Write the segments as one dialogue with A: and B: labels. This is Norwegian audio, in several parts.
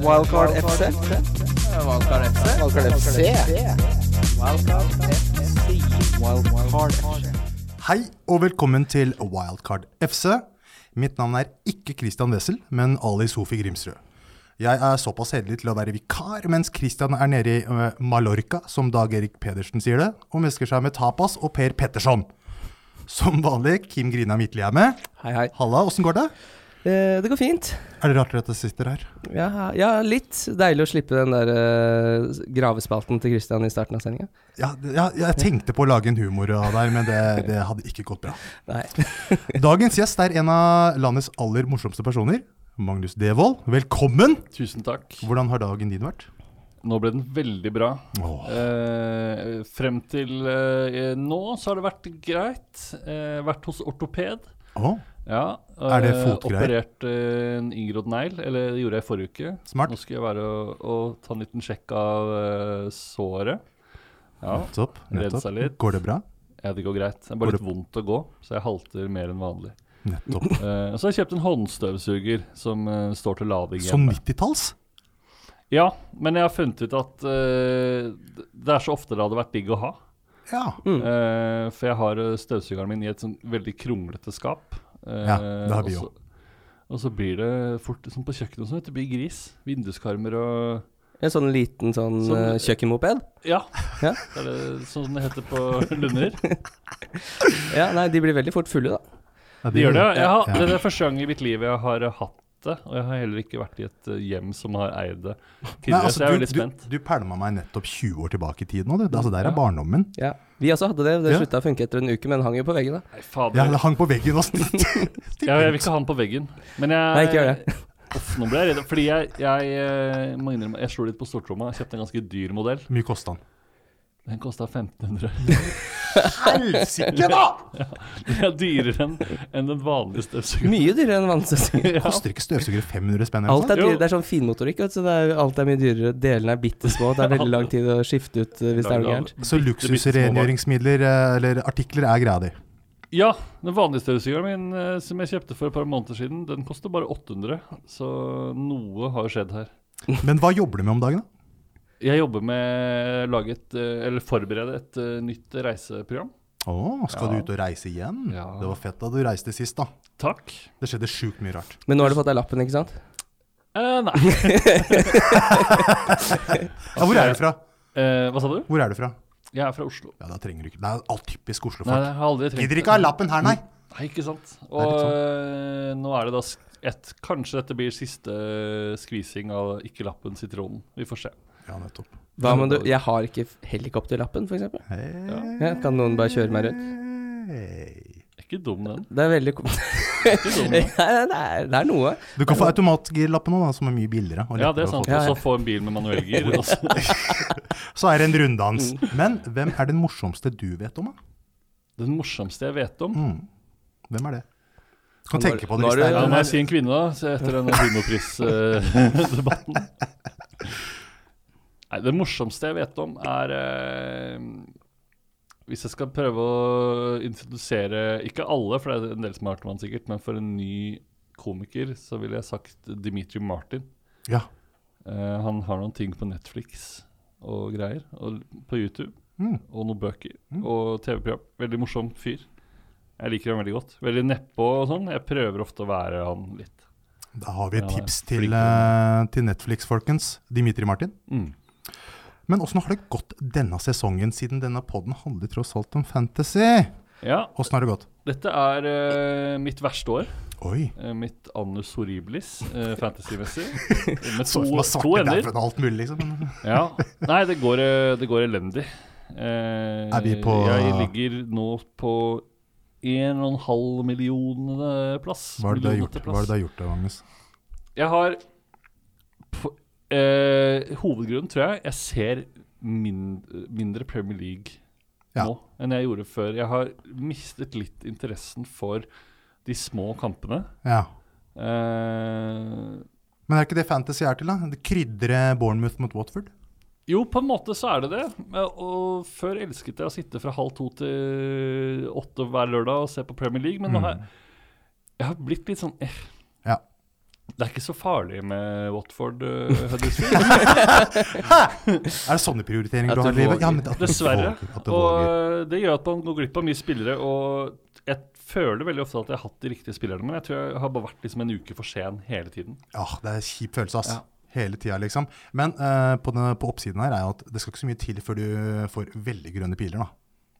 A: Wildcard FC.
B: Valkar FC.
A: Wildcard FC. Wildcard FC.
C: Hei og velkommen til Wildcard FC. Mitt navn er ikke Christian Wessel, men Ali Sofi Grimsrød. Jeg er såpass heldig til å være vikar, mens Christian er nede i øh, Mallorca, som Dag Erik Pedersen sier det, og mesker seg med tapas og Per Petterson. Som vanlig, Kim Grina Midtli er med.
D: Hei, hei.
C: Halla, åssen går det?
D: Eh, det går fint.
C: Er det rart at jeg sitter her?
D: Ja, ja, litt deilig å slippe den der eh, gravespalten til Christian i starten av sendinga.
C: Ja, det- ja, jeg tenkte på å lage en humor av det her, men det, det hadde ikke gått bra.
D: Nei.
C: Dagens gjest er en av landets aller morsomste personer. Magnus Devold, velkommen!
E: Tusen takk.
C: Hvordan har dagen din vært?
E: Nå ble den veldig bra.
C: Åh.
E: Eh, frem til eh, nå så har det vært greit. Eh, vært hos ortoped.
C: Åh,
E: Ja,
C: Er det
E: eh,
C: fotgreier?
E: Operert eh, en inngrodd negl. Eller det gjorde jeg i forrige uke.
C: Smart.
E: Nå skal jeg være og, og ta en liten sjekk av eh, såret. Ja,
C: nettopp.
E: rensa litt.
C: nettopp. Går det bra?
E: ja, det går greit. Det er bare
C: Går
E: litt vondt å gå, så jeg halter mer enn vanlig.
C: Nettopp.
E: Eh, og så har jeg kjøpt en håndstøvsuger som eh, står til lading
C: Sånn 90-talls?
E: Ja, men jeg har funnet ut at eh, det er så ofte det hadde vært digg å ha.
C: Ja.
E: Eh, for jeg har eh, støvsugeren min i et sånn veldig kronglete skap. Eh,
C: Ja, det har vi
E: og så- Og så blir det fort sånn på kjøkkenet og sånn, det blir gris. Vinduskarmer og
D: En sånn liten sånn
E: Sånn-
D: eh, kjøkkenmoped.
E: Ja.
D: Ja.
E: Det er det sånn det heter på Lunder.
D: Ja, nei, de blir veldig fort fulle, da.
E: Det gjør det. Jeg har,
C: Ja.
E: det er første gang i mitt liv jeg har eh, hatt det. Og jeg har heller ikke vært i et eh, hjem som har eid det tidligere, så jeg er veldig
C: altså, du,
E: spent.
C: du, du pælma meg nettopp 20 år tilbake i tid nå, du. Altså, der
E: Ja.
C: er barndommen.
D: Ja. Vi også hadde det, det
C: Ja.
D: slutta å funke etter en uke, men hang jo på veggen, da.
E: Nei, fader.
C: Jeg hang på veggen og snitt.
E: Ja, jeg vil ikke ha den på veggen. Men jeg
D: Nei, ikke gjør det.
E: Uff, nå ble jeg redd. Fordi jeg, jeg eh, må innrømme, jeg slo litt på stortromma. Jeg kjøpte en ganske dyr modell.
C: Hvor mye kosta den?
E: Den kosta 1500.
C: Helsike, da!
E: Den er dyrere enn enn den vanlige støvsugeren.
D: Mye dyrere enn vannstøvsuger.
E: Ja.
C: Koster ikke støvsugere 500 spenn? eller noe
D: Alt er,
E: Jo.
D: dyr, det er sånn finmotorikk, vet du, så det er, alt er mye dyrere. Delene er bitte små. Det er veldig lang tid å skifte ut eh, hvis det er noe gærent.
C: sånt? Så luksusrengjøringsmidler eh, eller artikler er greia di?
E: Ja. Den vanlige støvsugeren min eh, som jeg kjøpte for et par måneder siden, den koster bare 800. Så noe har skjedd her.
C: Men hva jobber du med om dagen, da?
E: Jeg jobber med å lage et, eh, eller forberede et eh, nytt reiseprogram.
C: Å, skal
E: Ja.
C: du ut og reise igjen?
E: Ja.
C: Det var fett da du reiste sist, da.
E: Takk.
C: Det skjedde sjukt mye rart.
D: Men nå har du fått deg lappen, ikke sant?
E: Eh, nei.
C: Ja, hvor er du fra?
E: Eh, hva sa du?
C: Hvor er du fra?
E: Jeg er fra Oslo.
C: Ja, da trenger du ikke Det er alt typisk
E: Nei,
C: Oslo-folk.
E: jeg har aldri trengt
C: Gidder ikke ha lappen her, nei.
E: Nei, ikke sant. Og
C: litt
E: eh, nå er det da sk- et, Kanskje dette blir siste eh, skvising av ikke-lappen sitronen. Vi får se.
C: Ja, nettopp.
D: Hva om du Jeg har ikke f- helikopterlappen, for eksempel.
C: Hei.
D: Ja, kan noen bare kjøre meg rundt?
E: Er Ikke dum, den.
D: Det er veldig kom-
E: Ikke dum,
D: Nei,
E: den.
D: det er, det er noe.
C: Du kan få automatgirlappen nå, da, som er mye billigere. og
E: Ja, det
C: lettere å
E: er sant.
C: få
D: Ja, ja.
E: Og så få en bil med altså. manuellgir. og så-
C: til. Så er det en runddans. Men hvem er den morsomste du vet om, da?
E: Den morsomste jeg vet om
C: Mm. Hvem er det? Du kan
D: Nå er-
C: tenke på
D: nå
C: det.
D: er
C: hvis det
D: det-
E: Ja,
C: er-
E: Nå må jeg si en kvinne, da, så etter denne Humorpris-debatten. Nei, det morsomste jeg vet om, er eh, Hvis jeg skal prøve å introdusere Ikke alle, for det er en del som har hørt om han sikkert, men for en ny komiker så ville jeg sagt Dimitri Martin.
C: Ja.
E: Eh, han har noen ting på Netflix og greier, og på YouTube,
C: Mm.
E: og noen bøker og TV-program. Veldig morsom fyr. Jeg liker ham veldig godt. Veldig nedpå og sånn. Jeg prøver ofte å være han litt.
C: Da har vi et
E: Ja,
C: tips
E: flink
C: til, eh, til Netflix, folkens. Dimitri Martin. Men åssen har det gått denne sesongen, siden denne poden handler tross alt om fantasy?
E: Ja,
C: Åssen har det gått?
E: dette er eh, mitt verste år.
C: Oi.
E: Eh, mitt annus horribilis, eh, fantasymessig. Med
C: Så ut
E: to,
C: som det var
E: to
C: svarte
E: ender.
C: dauden og alt mulig, liksom. Men-
E: Ja. Nei, det går, eh, det går elendig. Eh,
C: Er vi på-
E: Jeg ligger nå på 1,5 millionende plass.
C: Hva er det du har gjort,
E: Millionete
C: Hva er det
E: plass.
C: du har gjort da, Magnus?
E: Jeg har på, eh, Hovedgrunnen tror jeg Jeg ser min, mindre Premier League
C: Ja.
E: nå enn jeg gjorde før. Jeg har mistet litt interessen for de små kampene.
C: Ja.
E: Eh,
C: Men er ikke det fantasy er til, da? Det Krydre Bournemouth mot Watford?
E: jo, på en måte så er det det. Eh, Og før elsket jeg å sitte fra halv to til åtte hver lørdag og se på Premier League, men nå har jeg, jeg har blitt litt sånn eh.
C: Mm. Ja.
E: Det er ikke så farlig med Watford eh, Huddersfield.
C: Er det sånne prioriteringer
D: At
C: du har
D: du
C: i livet?
D: våger.
C: Ja, men at du
E: Dessverre.
C: våger, At du våger.
E: Og det gjør at man går glipp av mye spillere. Og jeg føler veldig ofte at jeg har hatt de riktige spillerne, men jeg tror jeg har bare vært liksom en uke for sen hele tiden.
C: Ja, det er en kjip følelse, ass.
E: Ja.
C: Hele tida, liksom. Men eh, på, den, på oppsiden her er jo at det skal ikke så mye til før du får veldig grønne piler, da.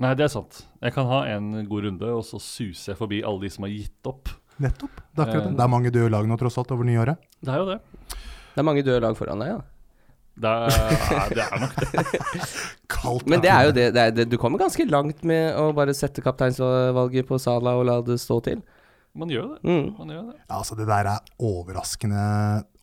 E: Nei, det er sant. Jeg kan ha en god runde, og så suser jeg forbi alle de som har gitt opp.
C: Nettopp. Det er akkurat det.
E: Eh.
C: Det er mange døde lag nå, tross alt, over nyåret.
E: Det er jo det.
D: Det er mange døde lag foran deg, ja.
E: Det er, det er nok det.
C: Kaldt.
D: Men det er jo det, det, er det Du kommer ganske langt med å bare sette kapteinsvalget på Salah og la det stå til.
E: Man gjør jo det.
D: Mm.
E: Man gjør jo det.
C: Ja, altså Det der er overraskende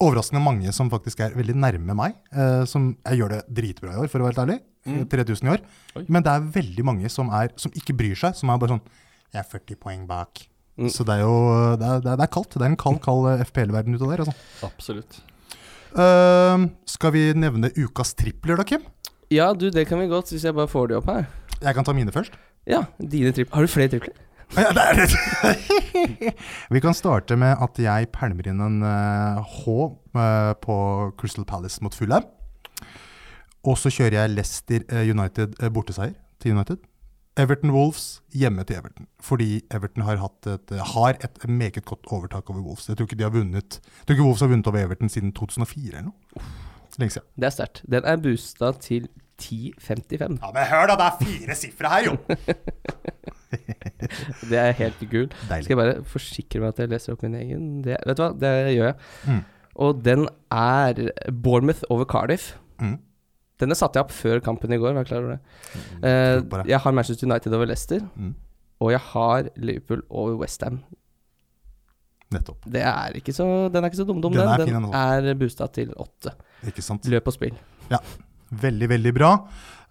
C: Overraskende mange som faktisk er veldig nærme meg. Eh, som Jeg gjør det dritbra i år, for å være helt ærlig. 3000 i år.
E: Oi.
C: Men det er veldig mange som, er, som ikke bryr seg. Som er bare sånn Jeg er 40 poeng bak.
D: Mm.
C: Så det er jo det er, det er, det er kaldt. Det er en kald, kald eh, FPL-verden ute der. Altså.
E: Absolutt.
C: Eh, skal vi nevne ukas tripler, da, Kim?
D: Ja, du, det kan vi godt, hvis jeg bare får de opp her.
C: Jeg kan ta mine først.
D: Ja, dine tripler. Har du flere tripler?
C: Ja, det er det. Vi kan starte med at jeg pælmer inn en eh, H eh, på Crystal Palace mot Fulham. Og så kjører jeg Leicester eh, United eh, borteseier til United. Everton Wolves hjemme til Everton, fordi Everton har, hatt et, eh, har et meget godt overtak over Wolves. Jeg tror ikke de har vunnet Jeg tror ikke Wolves har vunnet over Everton siden 2004 eller noe. Lenge siden.
D: Det er sterkt. Den er boosta til 10.55.
C: Ja, men hør da, det er fire sifre her, jo!
D: Det er helt gul.
C: Deilig.
D: Skal jeg bare forsikre meg at jeg leser opp min egen? Det, vet du hva, det gjør jeg.
C: Mm.
D: Og den er Bournemouth over Cardiff.
C: Mm.
D: Denne satte jeg opp før kampen i går, vær klar over det.
C: tror
D: Eh,
C: på det.
D: jeg har Manchester United over Leicester,
C: Mm.
D: og jeg har Liverpool over Westham.
C: Nettopp.
D: Det er ikke så, den er ikke så dum-dum,
C: Den
D: den.
C: er fin,
D: Den
C: den
D: er boosta til åtte.
C: Ikke sant?
D: Løp og spill.
C: Veldig, veldig bra.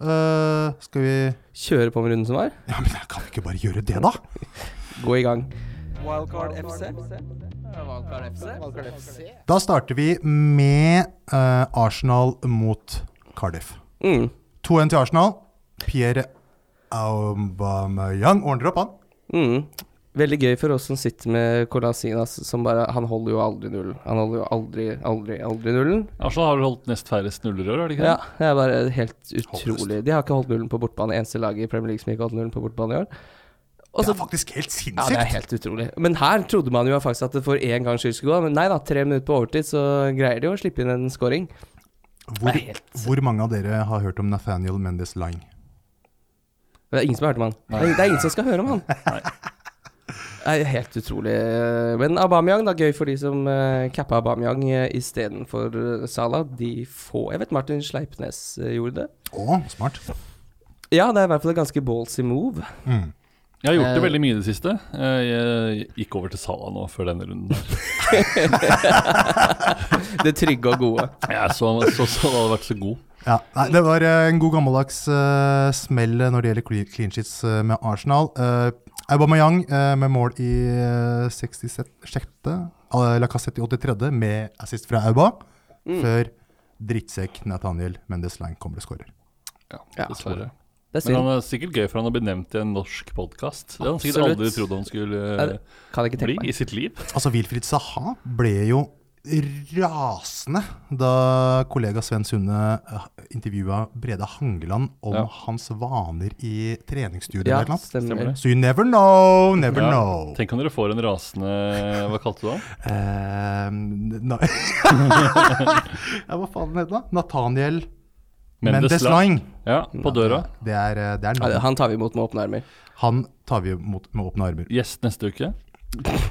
C: Eh, skal vi
D: Kjøre på med runden som var.
C: Ja, men jeg kan vi ikke bare gjøre det, da?
D: Gå i gang.
A: Wildcard FC.
C: Da starter vi med eh, Arsenal mot Cardiff.
D: Mm.
C: 2-1 til Arsenal. Pierre Aubameyang ordner opp, han.
D: Mm. Veldig gøy for oss som sitter med Kolasinas, som bare Han holder jo aldri nullen. Han holder jo aldri, aldri, aldri nullen.
E: Arsenal har vel holdt nest færrest nuller i år, har de ikke
D: Ja,
E: det?
D: det er bare helt utrolig. De har ikke holdt nullen på bortbane. Eneste laget i Premier League som ikke har holdt nullen på bortbane i år. Og
C: Det
D: så
C: er faktisk helt
D: Ja, det er
C: sinnssykt.
D: helt utrolig. Men her trodde man jo faktisk at det for én gangs skyld skulle gå. Men nei da, tre minutter på overtid så greier de jo å slippe inn en scoring.
C: Hvor,
D: Det er helt-
C: hvor mange av dere har hørt om Nathaniel Mendes Lang?
D: Det er ingen som har hørt om han. Det er, det er ingen som skal høre om han. Det er helt utrolig. Men Aubameyang, da. Gøy for de som uh, cappa Aubameyang eh, istedenfor eh, Salah. De få Jeg vet Martin Sleipnes eh, gjorde det.
C: Å, smart.
D: Ja, det er i hvert fall et ganske ballsy move.
C: Mm.
E: Jeg har gjort det
D: Eh.
E: veldig mye i det siste. Eh, Jeg gikk over til Sala nå før denne runden. her.
D: Det trygge og gode.
E: Jeg så, så, så han hadde vært så god.
C: Ja, nei, det var eh, en god gammeldags eh, smell når det gjelder clean, clean sheets eh, med Arsenal. Uh, Aubameyang eh, med mål i eh, 66. Uh, Lacassette i 83. med assist fra Auba.
E: Mm.
C: Før drittsekk Nathaniel Mendes Lang kommer og skårer.
D: Ja,
E: dessverre.
D: Det er
E: Men han
D: synd.
E: er sikkert gøy for han har blitt nevnt i en norsk podkast. Det hadde han sikkert
D: Absolutt.
E: aldri trodd han skulle
D: Nei,
E: eh,
D: det Kan jeg ikke
E: bli
D: tenke
E: i
D: meg.
E: sitt liv.
C: Altså, Wilfried Saha ble jo rasende da kollega Sven Sunde intervjua Brede Hangeland om
E: Ja.
C: hans vaner i treningsstudio.
D: Ja,
C: eller noe.
E: Stemmer
D: stemmer.
E: det.
C: So you never know, never
E: Ja.
C: know.
E: Tenk om dere får en rasende Hva kalte du han?
C: Eh, nei ja, Hva faen heter det? da? Nathaniel Mendes
E: Lang.
C: Lang.
E: Ja, på døra.
C: Det er, eh, det er
D: Ja,
C: navnet.
D: han tar vi imot med åpne armer.
C: Han tar vi imot med åpne armer.
E: Gjest neste uke,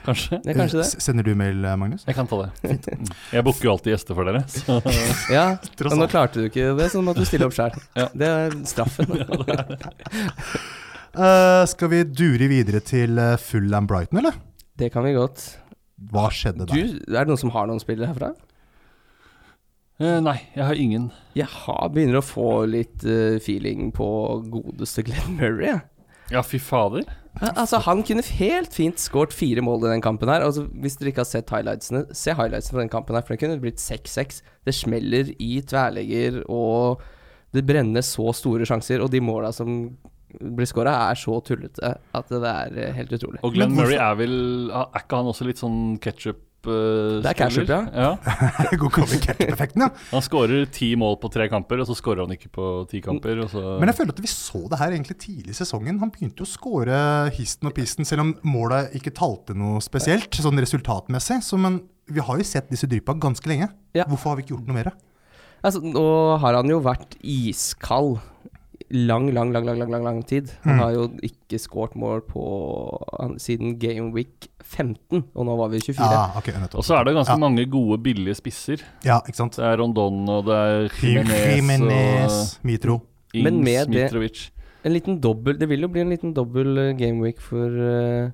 E: kanskje?
D: Det er kanskje det.
C: Eh, s- Sender du mail, eh, Magnus?
E: Jeg kan ta det. Mm. Jeg booker jo alltid gjester for dere, så
D: Ja,
C: Tross
D: men nå
C: alt.
D: klarte du ikke det, så nå måtte du stille opp sjøl.
E: Ja.
D: Det er straffen. da.
C: Eh, skal vi dure videre til eh, Fulham Brighton, eller?
D: Det kan vi godt.
C: Hva skjedde
D: Du,
C: der?
D: er det noen som har noen spillere herfra?
E: Eh, Nei, jeg har ingen.
D: Jeg har, begynner å få litt eh, feeling på godeste Glenn Murray. jeg.
E: Ja, fy fader.
D: Al- Altså, han kunne helt fint skåret fire mål i den kampen her. Altså, hvis dere ikke har sett highlightsene, se highlightsene fra den kampen her, for det kunne blitt 6-6. Det smeller i tverrlegger, og det brenner så store sjanser, og de måla som blir skåra, er så tullete at det er eh, helt utrolig.
E: Og Glenn
C: Men hvorfor-
E: ah, Murray er vel Er ikke han også litt sånn ketsjup Det
D: Det er ketchup, ja.
E: ja.
C: God cover ketchup-effekten, ja.
E: Han skårer ti mål på tre kamper, og så skårer han ikke på ti kamper. Og så
C: Men jeg føler at vi så det her egentlig tidlig i sesongen. Han begynte jo å skåre histen og pisten, selv om måla ikke talte noe spesielt, sånn resultatmessig. Så, men vi har jo sett disse dryppa ganske lenge.
D: Ja.
C: Hvorfor har vi ikke gjort noe mer?
D: Altså, nå har han jo vært iskald lang, lang, lang, lang, lang, lang, lang tid.
C: Mm.
D: Han har jo ikke skåret mål på han, siden Game Week 15, og nå var vi 24.
C: Ja, Ah, ok, nettopp.
E: Og så er det ganske
C: Ja.
E: mange gode, billige spisser.
C: Ja, ikke sant?
E: Det er Rondon, og det er Jimenez
C: Jimenez, Mitro.
E: og Ings
D: Men med det-
E: Mitrovic.
D: En liten dobbel Det vil jo bli en liten dobbel eh, Game Week for, eh,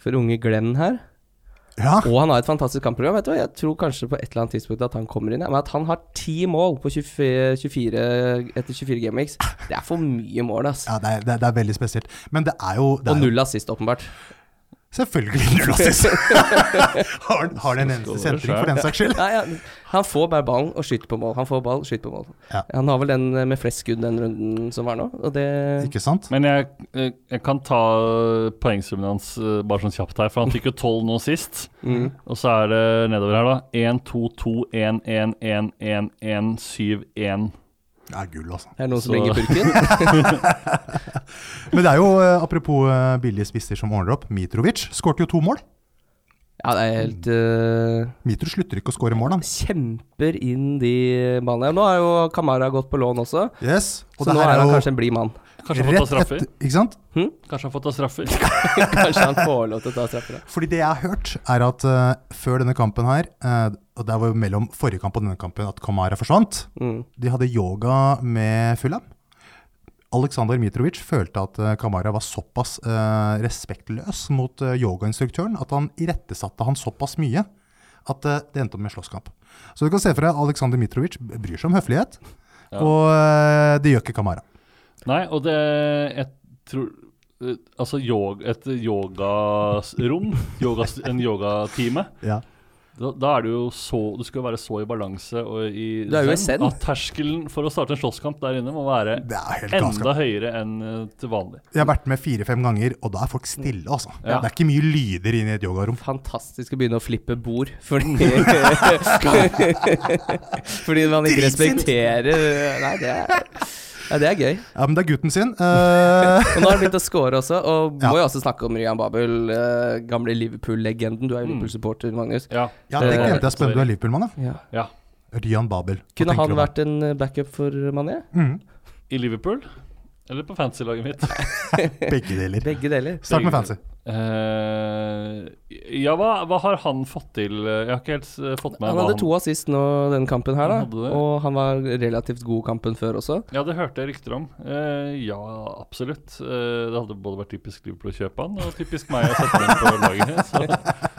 D: for unge Glenn her.
C: Ja,
D: Og han har et fantastisk kampprogram. Vet du, hva? jeg tror kanskje på et eller annet tidspunkt at han kommer inn. ja. Men at han har ti mål på 24, 24, etter 24 Game Weeks, det er for mye mål, ass.
C: ja det, er, det, er, det er veldig spesielt. Men det er jo det
D: Og
C: er jo-
D: null assist, åpenbart.
C: Selvfølgelig null assist! har, han- har den eneste sentring, for den saks skyld.
D: Nei, ja, han får bare ballen og skyter på mål. Han får ball, skyter på mål.
C: Ja.
D: Han har vel den eh, med flest skudd den runden som var nå, og det
C: Ikke sant?
E: Men jeg, eh, jeg kan ta poengsummen hans eh, bare sånn kjapt her, for han fikk jo 12 nå sist.
D: Mm.
E: Og så er det nedover her, da. 1, 2, 2, 1, 1, 1, 1, 1, 7, 1.
C: Det er gull, altså.
D: er det noen som
E: Så-
D: ringer purken.
C: Men det er jo, eh, apropos eh, billige spisser som ordner opp, Mitrovic skårte jo to mål.
D: Ja, det er helt eh,
C: Mitro slutter ikke å skåre mål, han.
D: Kjemper inn de ballene. Nå har jo Kamara gått på lån også,
C: Yes, og
D: så
C: det
D: nå er
C: her er
D: han
C: jo
D: kanskje en blid mann.
E: Kanskje han får ta
C: rett
E: straffer?
C: etter- Ikke sant?
E: Kanskje han får ta straffer?
D: kanskje han får lov til å ta straffer. da.
C: Fordi det jeg har hørt, er at eh, før denne kampen her, eh, og det var jo mellom forrige kamp og denne kampen at Kamara forsvant,
D: Mm.
C: de hadde yoga med Fulham. Aleksandr Mitrovic følte at eh, Kamara var såpass eh, respektløs mot eh, yogainstruktøren at han irettesatte han såpass mye at eh, det endte opp med slåsskamp. Så du kan se for deg Aleksandr Mitrovic bryr seg om høflighet,
E: Ja.
C: og eh, det gjør ikke Kamara.
E: Nei, og det Jeg tror eh, Altså, yog, et yogarom, yogas, en yogatime,
C: Ja.
E: da, da er du jo så Du skal jo være så i balanse og i
D: Du er jo i zen.
E: at terskelen for å starte en slåsskamp der inne må være
C: Det er helt galskap.
E: enda høyere enn eh, til vanlig.
C: Jeg har vært med fire-fem ganger, og da er folk stille, altså.
E: Ja.
C: Det er ikke mye lyder inne i et yogarom.
D: Fantastisk å begynne å flippe bord, fordi Fordi man ikke respekterer Nei, det er, ja, det er gøy.
C: Ja, men det er gutten sin. Eh,
D: Og nå har han begynt å score også, og
C: Ja.
D: må jo også snakke om Ryan Babel, eh, gamle Liverpool-legenden. Du er jo Liverpool-supporter, Magnus.
E: Ja.
C: ja, det
D: Eh,
C: glemte jeg å spørre om du er Liverpool-mann, ja.
D: Mm. Ja.
E: ja.
C: Ryan Babel. Mm. Hva
D: Kunne
C: tenker du
D: han
C: om
D: vært en eh, backup for Mané?
E: I Liverpool? Eller på fantasy-laget mitt?
C: Begge deler.
D: Begge deler.
C: Snakk med fancy.
E: Eh, ja, hva, hva har han fått til? Jeg har ikke helt eh, fått med
D: Han
E: hva
D: hadde to assist nå den kampen her,
E: Han hadde
D: da.
E: det.
D: Og han var relativt god kampen før også.
E: Ja, det hørte jeg rykter om. Eh, ja, absolutt. Eh, det hadde både vært typisk Liverpool å kjøpe han, og typisk meg å sette han på laget. Så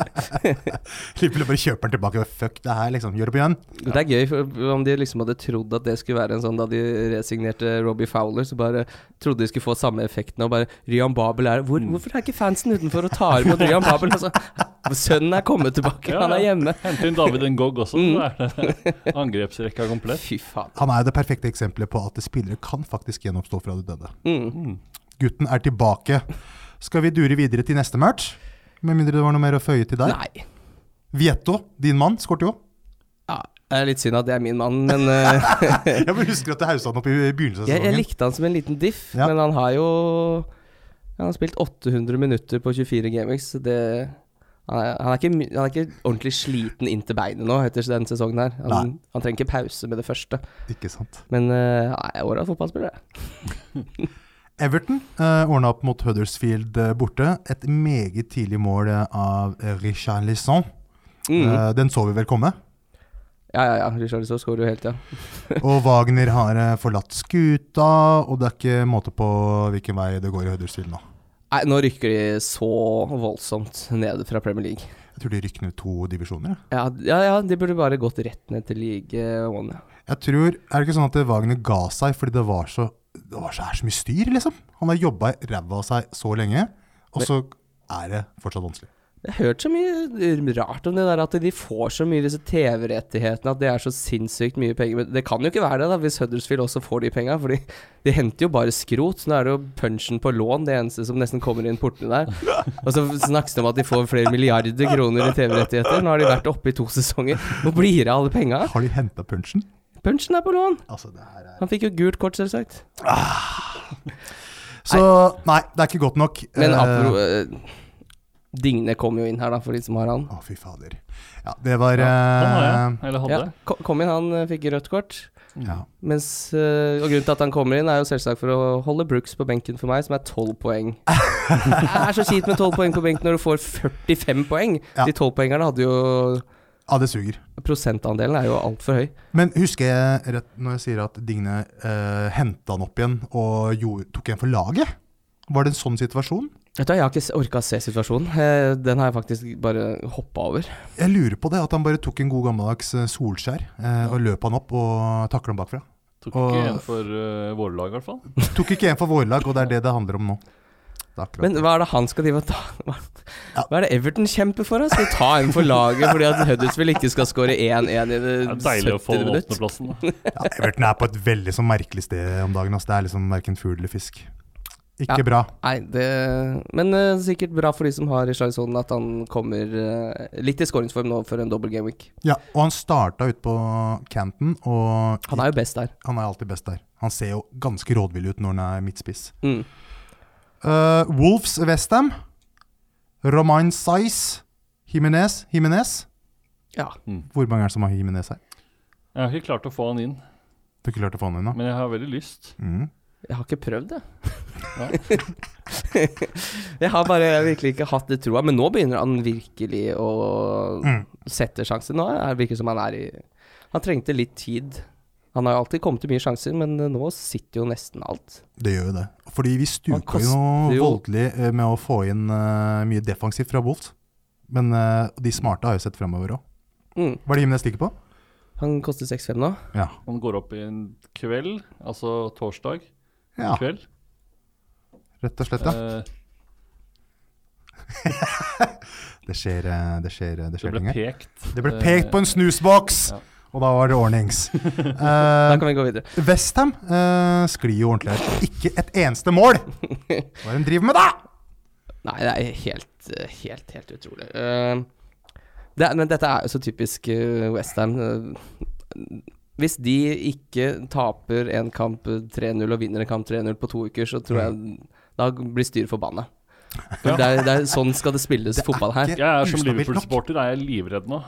C: Liverpool bare kjøper den tilbake. Fuck det her, liksom. Gjør det på igjen.
D: Det er gøy, for om de liksom hadde trodd at det skulle være en sånn da de resignerte Robbie Fowler, så bare trodde de skulle få samme effekten og bare Ryan Babel er Hvor, Hvorfor er ikke fansen utenfor og tar imot Ryan Babel? Altså, sønnen er kommet tilbake,
E: Ja,
D: han er
E: ja.
D: hjemme.
E: hente inn David Ngog også, så er
D: Mm.
E: det angrepsrekka komplett.
D: Fy faen.
C: Han er jo det perfekte eksempelet på at spillere kan faktisk gjenoppstå fra det døde.
D: Mm.
C: Gutten er tilbake. Skal vi dure videre til neste match? Med mindre det var noe mer å føye til der.
D: Nei.
C: Vietto, din mann, skåret jo.
D: Ja, det er litt synd at det er min mann, men eh,
C: Jeg bare husker at det hausa han opp i begynnelsen av
D: jeg, jeg
C: sesongen.
D: likte han som en liten diff.
C: sånn, Ja.
D: Men han har jo Han har spilt 800 minutter på 24 Gameweeks, så det han er, han, er ikke, my- han er ikke ordentlig sliten inn til beinet nå etter denne sesongen her. Han,
C: Nei.
D: han trenger ikke pause med det første.
C: Ikke sant.
D: Men eh, nei, åra fotballspiller, jeg.
C: Everton uh, ordna opp mot Huddersfield eh, borte. Et meget tidlig mål eh, av Richard Lisson.
D: Mm.
C: den så vi vel komme.
D: Ja, ja, ja. Richarlison skårer jo hele tida.
C: Og Wagner har eh, forlatt skuta, og det er ikke måte på hvilken vei det går i Huddersfield nå.
D: Nei, nå rykker de så voldsomt ned fra Premier League.
C: Jeg tror de rykker ned to divisjoner. jeg.
D: Ja, ja, ja de burde bare gått rett ned til league one. Ja.
C: Jeg tror, Er det ikke sånn at eh, Wagner ga seg fordi det var så det var så, er så mye styr, liksom? Han har jobba ræva av seg så lenge, og så er det fortsatt vanskelig.
D: Jeg har hørt så mye rart om det der at de får så mye disse TV-rettighetene, at det er så sinnssykt mye penger. Men det kan jo ikke være det, da, hvis Huddersfield også får de penga. For de henter jo bare skrot. Nå er det jo punchen på lån det eneste som nesten kommer inn portene der. Og så snakkes det om at de får flere milliarder kroner i TV-rettigheter. Nå har de vært oppe i to sesonger. Hvor blir det av alle penga?
C: Har de henta punchen?
D: Punchen er på lån!
C: Altså, det her er
D: Han fikk jo gult kort, selvsagt.
C: Så nei, det er ikke godt nok.
D: Men
C: Eh,
D: apro... eh, Digne kom jo inn her, da, for de som har han.
C: Å, fy fader. Ja, det var
E: Han Sånn har
C: eh,
E: jeg, eller hadde. Mm.
D: Ja, ko- kom inn, han eh, fikk rødt kort.
C: ja.
D: Mens, øh, og grunnen til at han kommer inn, er jo selvsagt for å holde Brooks på benken for meg, som er 12 poeng. det er så kjipt med 12 poeng på benken når du får 45 poeng.
C: Ja.
D: De 12-poengerne hadde jo
C: ja, det suger.
D: Prosentandelen er jo altfor høy.
C: Men husker jeg rett når jeg sier at Digne eh, henta han opp igjen og gjorde, tok igjen for laget? Var det en sånn situasjon?
D: Vet du hva, Jeg har ikke orka å se situasjonen. Eh, Den har jeg faktisk bare hoppa over.
C: Jeg lurer på det, at han bare tok en god gammeldags eh, Solskjær eh, og løp han opp og takla han bakfra.
E: Tok
C: Og-
E: ikke en for uh, våre lag, i hvert fall.
C: Tok ikke en for våre lag, og det er det det handler om nå. Det er akkurat
D: Men
C: det.
D: hva er det han skal drive og ta Hva hva er det Everton kjemper for? da? Skal de ta en for laget fordi at Huddersfield ikke skal skåre 1-1 i det
E: Det er
D: 70.
E: deilig å få den
D: minutt?
E: åttendeplassen. da.
C: Ja, Everton er på et veldig så merkelig sted om dagen. ass. Det er liksom verken fugl eller fisk. Ikke
D: Ja.
C: bra.
D: Nei, det Men eh, sikkert bra for de som har Richarlison at han kommer eh, litt i skåringsform nå for en double game week.
C: Ja, og han starta ute på Canton, og
D: Han er jo best der.
C: han er alltid best der. Han ser jo ganske rådvill ut når han er midtspiss.
D: Mm.
C: Uh, Wolves Westham. Romain Saiz. Jimenez. Jimenez.
D: Ja.
C: Hvor mange er det som har Jimenez her?
E: Jeg har ikke klart å få han inn,
C: Du har ikke klart å få han ennå?
E: men jeg har veldig lyst.
C: Mm.
D: Jeg har ikke prøvd, jeg.
E: Ja.
D: Jeg har bare virkelig ikke hatt det troa, men nå begynner han virkelig å
C: Mm.
D: sette sjanser. Nå er det virker som han er i Han trengte litt tid. Han har jo alltid kommet til mye sjanser, men eh, nå sitter jo nesten alt.
C: Det gjør jo det. Fordi vi
D: Han
C: stuka
D: koster
C: jo noe
D: jo-
C: voldelig eh, med å få inn eh, mye defensivt fra Wolves. Men eh, de smarte har jo sett framover òg.
D: Mm.
C: Hva er det Jimenez ligger på?
D: Han koster 6-5 nå.
C: Ja.
E: Han går opp i en kveld, altså torsdag
C: ja.
E: kveld.
C: Rett og slett, ja.
E: Eh,
C: Det skjer, eh, det skjer, det
E: det
C: skjer
E: ble
C: ting her.
E: pekt.
C: Det ble pekt på en snusboks!
E: Ja.
C: Og da var det ordnings.
D: Da
C: Uh,
D: kan vi gå videre.
C: Westham uh, sklir jo ordentlig her. Ikke et eneste mål! Hva er det de driver med, da?!
D: Nei, det er helt, eh, helt, helt utrolig. Eh, det er, men dette er jo så typisk eh, West Ham eh, Hvis de ikke taper en kamp eh, 3-0 og vinner en kamp 3-0 på to uker, så tror jeg
C: Mm.
D: da blir styret forbanna. For det er, det er, sånn skal det spilles
C: Det er
D: fotball her.
C: ikke
E: Jeg er som
C: ustabilt nok.
E: Liverpool-supporter er jeg livredd nå.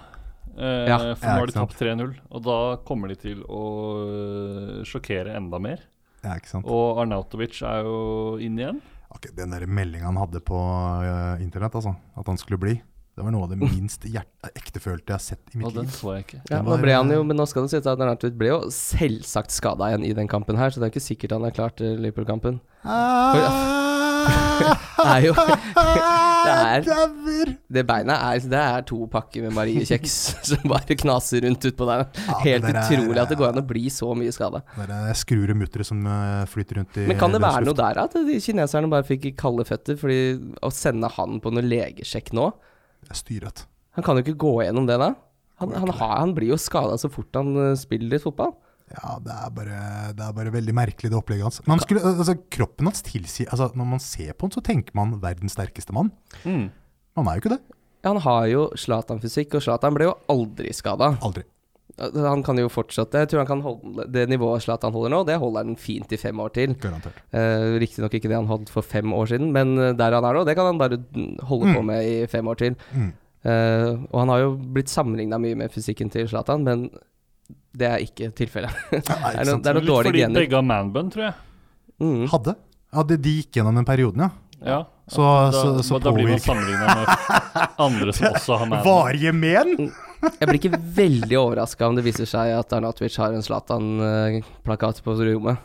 E: Eh,
D: Ja.
E: for nå
C: Ja,
E: har de
C: ikke sant.
E: tapt 3-0, og da kommer de til å øh, sjokkere enda mer.
C: Ja, ikke sant.
E: Og Arnautovic er jo inn igjen.
C: Ok, den der meldinga han hadde på eh, internett, altså, at han skulle bli, det var noe av det minst hjerte- ektefølte jeg har sett i
E: Og
C: mitt
E: den
C: liv.
E: så jeg ikke.
D: Ja,
C: Det
D: nå
C: var-
D: ble han jo, men nå skal det sies at Arnautovic ble jo selvsagt skada igjen i den kampen her, så det er jo ikke sikkert han er klar til Liverpool-kampen. Det er jo Det er-
C: Ah, Dauer!
D: Det beinet er, det er to pakker med Marie-kjeks som bare knaser rundt utpå der.
C: men
D: Helt
C: det er-
D: utrolig at det går an å bli så mye skada.
C: Det er skruer og muttere som eh, flyter rundt i
D: Men kan det
C: løs
D: være
C: luft.
D: noe der at de kineserne bare fikk kalde føtter? Fordi å sende han på noe legesjekk nå
C: Det er styret.
D: Han kan jo ikke gå gjennom det da. Han, han, har, han blir jo skada så fort han eh, spiller litt fotball.
C: Ja, det er, bare, det er bare veldig merkelig, det opplegget hans. Man skulle, altså, kroppen hans tilsier altså, Når man ser på han, så tenker man 'verdens sterkeste mann'.
E: Mm.
C: Man er jo ikke det.
D: Ja, han har jo Zlatan-fysikk, og Zlatan ble jo aldri skada.
C: Aldri.
D: Han kan jo fortsette. Jeg tror han kan holde det nivået Zlatan holder nå, det holder han fint i fem år til.
C: Garantert.
D: Uh, Riktignok ikke det han holdt for fem år siden, men eh, der han er nå, det kan han bare mm, holde på med i fem år til.
C: Mm.
D: Eh, og han har jo blitt sammenligna mye med fysikken til Zlatan, men det er ikke tilfellet.
C: Nei,
D: det er
C: ikke
D: noen
C: sant.
D: det er noen
E: Litt
D: dårlige
E: fordi
D: gener.
E: begge har manbun, tror jeg.
D: Mm.
C: Hadde. Hadde de gikk gjennom den perioden, ja.
E: Ja.
C: Så,
E: Da,
C: så, så,
E: da blir man
C: påvirker
E: sammenligna med andre som også har manbun.
C: Varige men!
E: Mm.
D: Jeg blir ikke veldig overraska om det viser seg at Arnatovic har en Zlatan-plakat på rommet.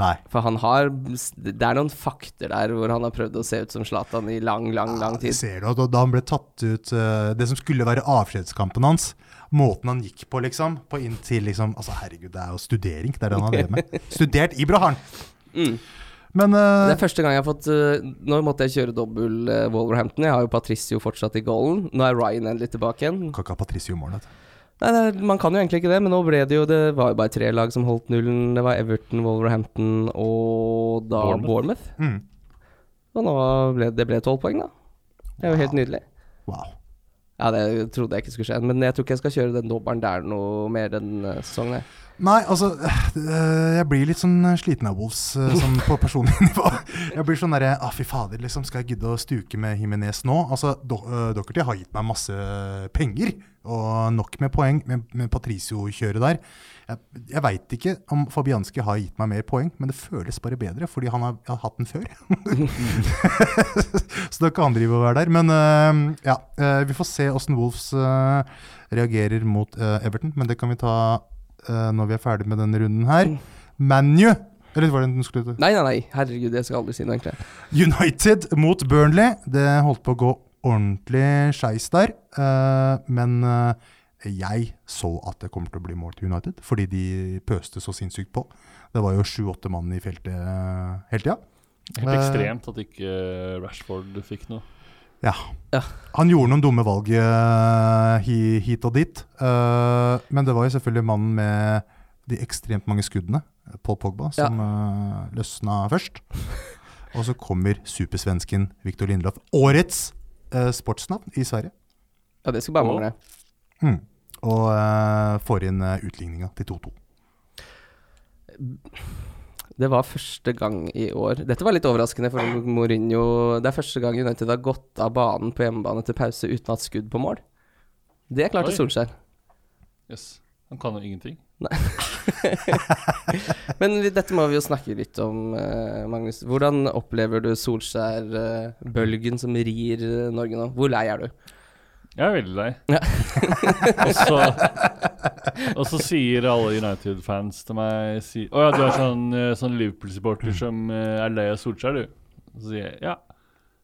C: Nei.
D: For han har Det er noen fakter der hvor han har prøvd å se ut som Zlatan i lang, lang, lang
C: Det
D: tid.
C: ser du at da han ble tatt ut eh, Det som skulle være avskjedskampen hans, måten han gikk på, liksom, på
E: Mm.
C: inntil liksom Altså, herregud, det er jo studering. Det er det han har drevet med. Studert i Broharn! Men
D: Det er
C: eh,
D: første gang jeg har fått eh, Nå måtte jeg kjøre dobbel eh, Wolverhampton. Jeg har jo Patricio fortsatt i goalen. Nå er Ryan endelig tilbake igjen.
C: kan ikke ha Patricio i mål, vet du.
D: Nei, det er, Man kan jo egentlig ikke det, men nå ble det jo Det var jo bare tre lag som holdt nullen. Det var Everton, Wolverhampton og da
E: Bournemouth.
D: Bournemouth.
C: Mm.
D: Og nå ble det ble tolv poeng, da. Det er jo helt nydelig.
C: Wow.
D: Ja, det trodde jeg ikke skulle skje, men jeg tror ikke jeg skal kjøre den dobbelen der noe mer denne sesongen. jeg.
C: Nei, altså øh, Jeg blir litt sånn sliten av Wolves øh, sånn på personlig nivå. Jeg blir sånn derre ah, Fy fader, liksom. Skal jeg gidde å stuke med Jimenez nå? Altså, do, øh, Doherty har gitt meg masse penger og nok med poeng med, med Patricio-kjøret der. Jeg, jeg veit ikke om Fabianski har gitt meg mer poeng, men det føles bare bedre, fordi han har, har hatt den før. Så da kan han drive og være der. Men øh, ja, øh, vi får se åssen Wolves øh, reagerer mot øh, Everton, men det kan vi ta eh, når vi er ferdig med denne runden her. ManU Eller var det den skulle
D: Nei, nei, nei. Herregud, jeg skal aldri si noe, egentlig.
C: United mot Burnley. Det holdt på å gå ordentlig skeis der. eh, men eh, jeg så at det kommer til å bli mål til United, fordi de pøste så sinnssykt på. Det var jo sju-åtte mann i feltet eh, hele tida.
E: Helt
C: Eh.
E: ekstremt at ikke eh, Rashford fikk noe.
C: Ja.
D: Ja.
C: Han gjorde noen dumme valg eh, hi- hit og dit, eh, men det var jo selvfølgelig mannen med de ekstremt mange skuddene, Paul Pogba, som eh, løsna først. Og så kommer supersvensken Viktor Lindelöf, årets eh, sportsnavn i Sverige,
D: Ja, det skal bare
E: Å.
D: mangle.
C: mm. og eh, får inn uh, utligninga til 2-2.
D: Det var første gang i år Dette var litt overraskende for Mourinho. Det er første gang United har gått av banen på hjemmebane til pause uten at skudd på mål. Det klarte
E: Oi.
D: Solskjær.
E: Yes. Han kan jo ingenting.
D: Men vi, dette må vi jo snakke litt om, eh, Magnus. Hvordan opplever du Solskjær-bølgen som rir eh, Norge nå? Hvor lei er du?
E: Jeg er veldig lei.
D: Ja.
E: og, så, og så sier alle United-fans til meg si, Å ja, du er sånn, eh, sånn Liverpool-supporter som eh, er lei av Solskjær, du. Så sier jeg ja.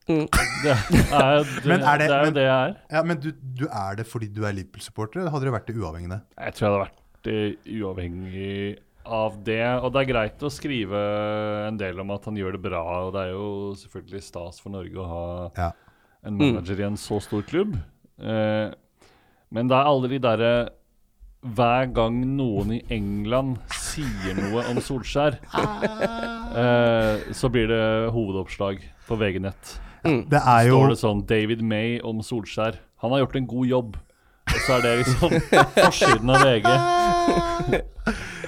D: Mm.
E: Det er, jo det,
C: Men er det-
E: det, er jo
C: men-
E: det jeg er.
C: Ja, men du, du er det fordi du er Liverpool-supporter, eller hadde du vært det uavhengig av det?
E: Jeg tror jeg hadde vært eh, uavhengig av det. Og det er greit å skrive en del om at han gjør det bra, og det er jo selvfølgelig stas for Norge å ha
C: Ja.
E: en manager i en så stor klubb. Eh, men det er alle de derre hver gang noen i England sier noe om Solskjær, eh, så blir det hovedoppslag på VG-nett.
C: Det er jo
E: Står det sånn David May om Solskjær. Han har gjort en god jobb. Og så er det liksom forsiden av VG.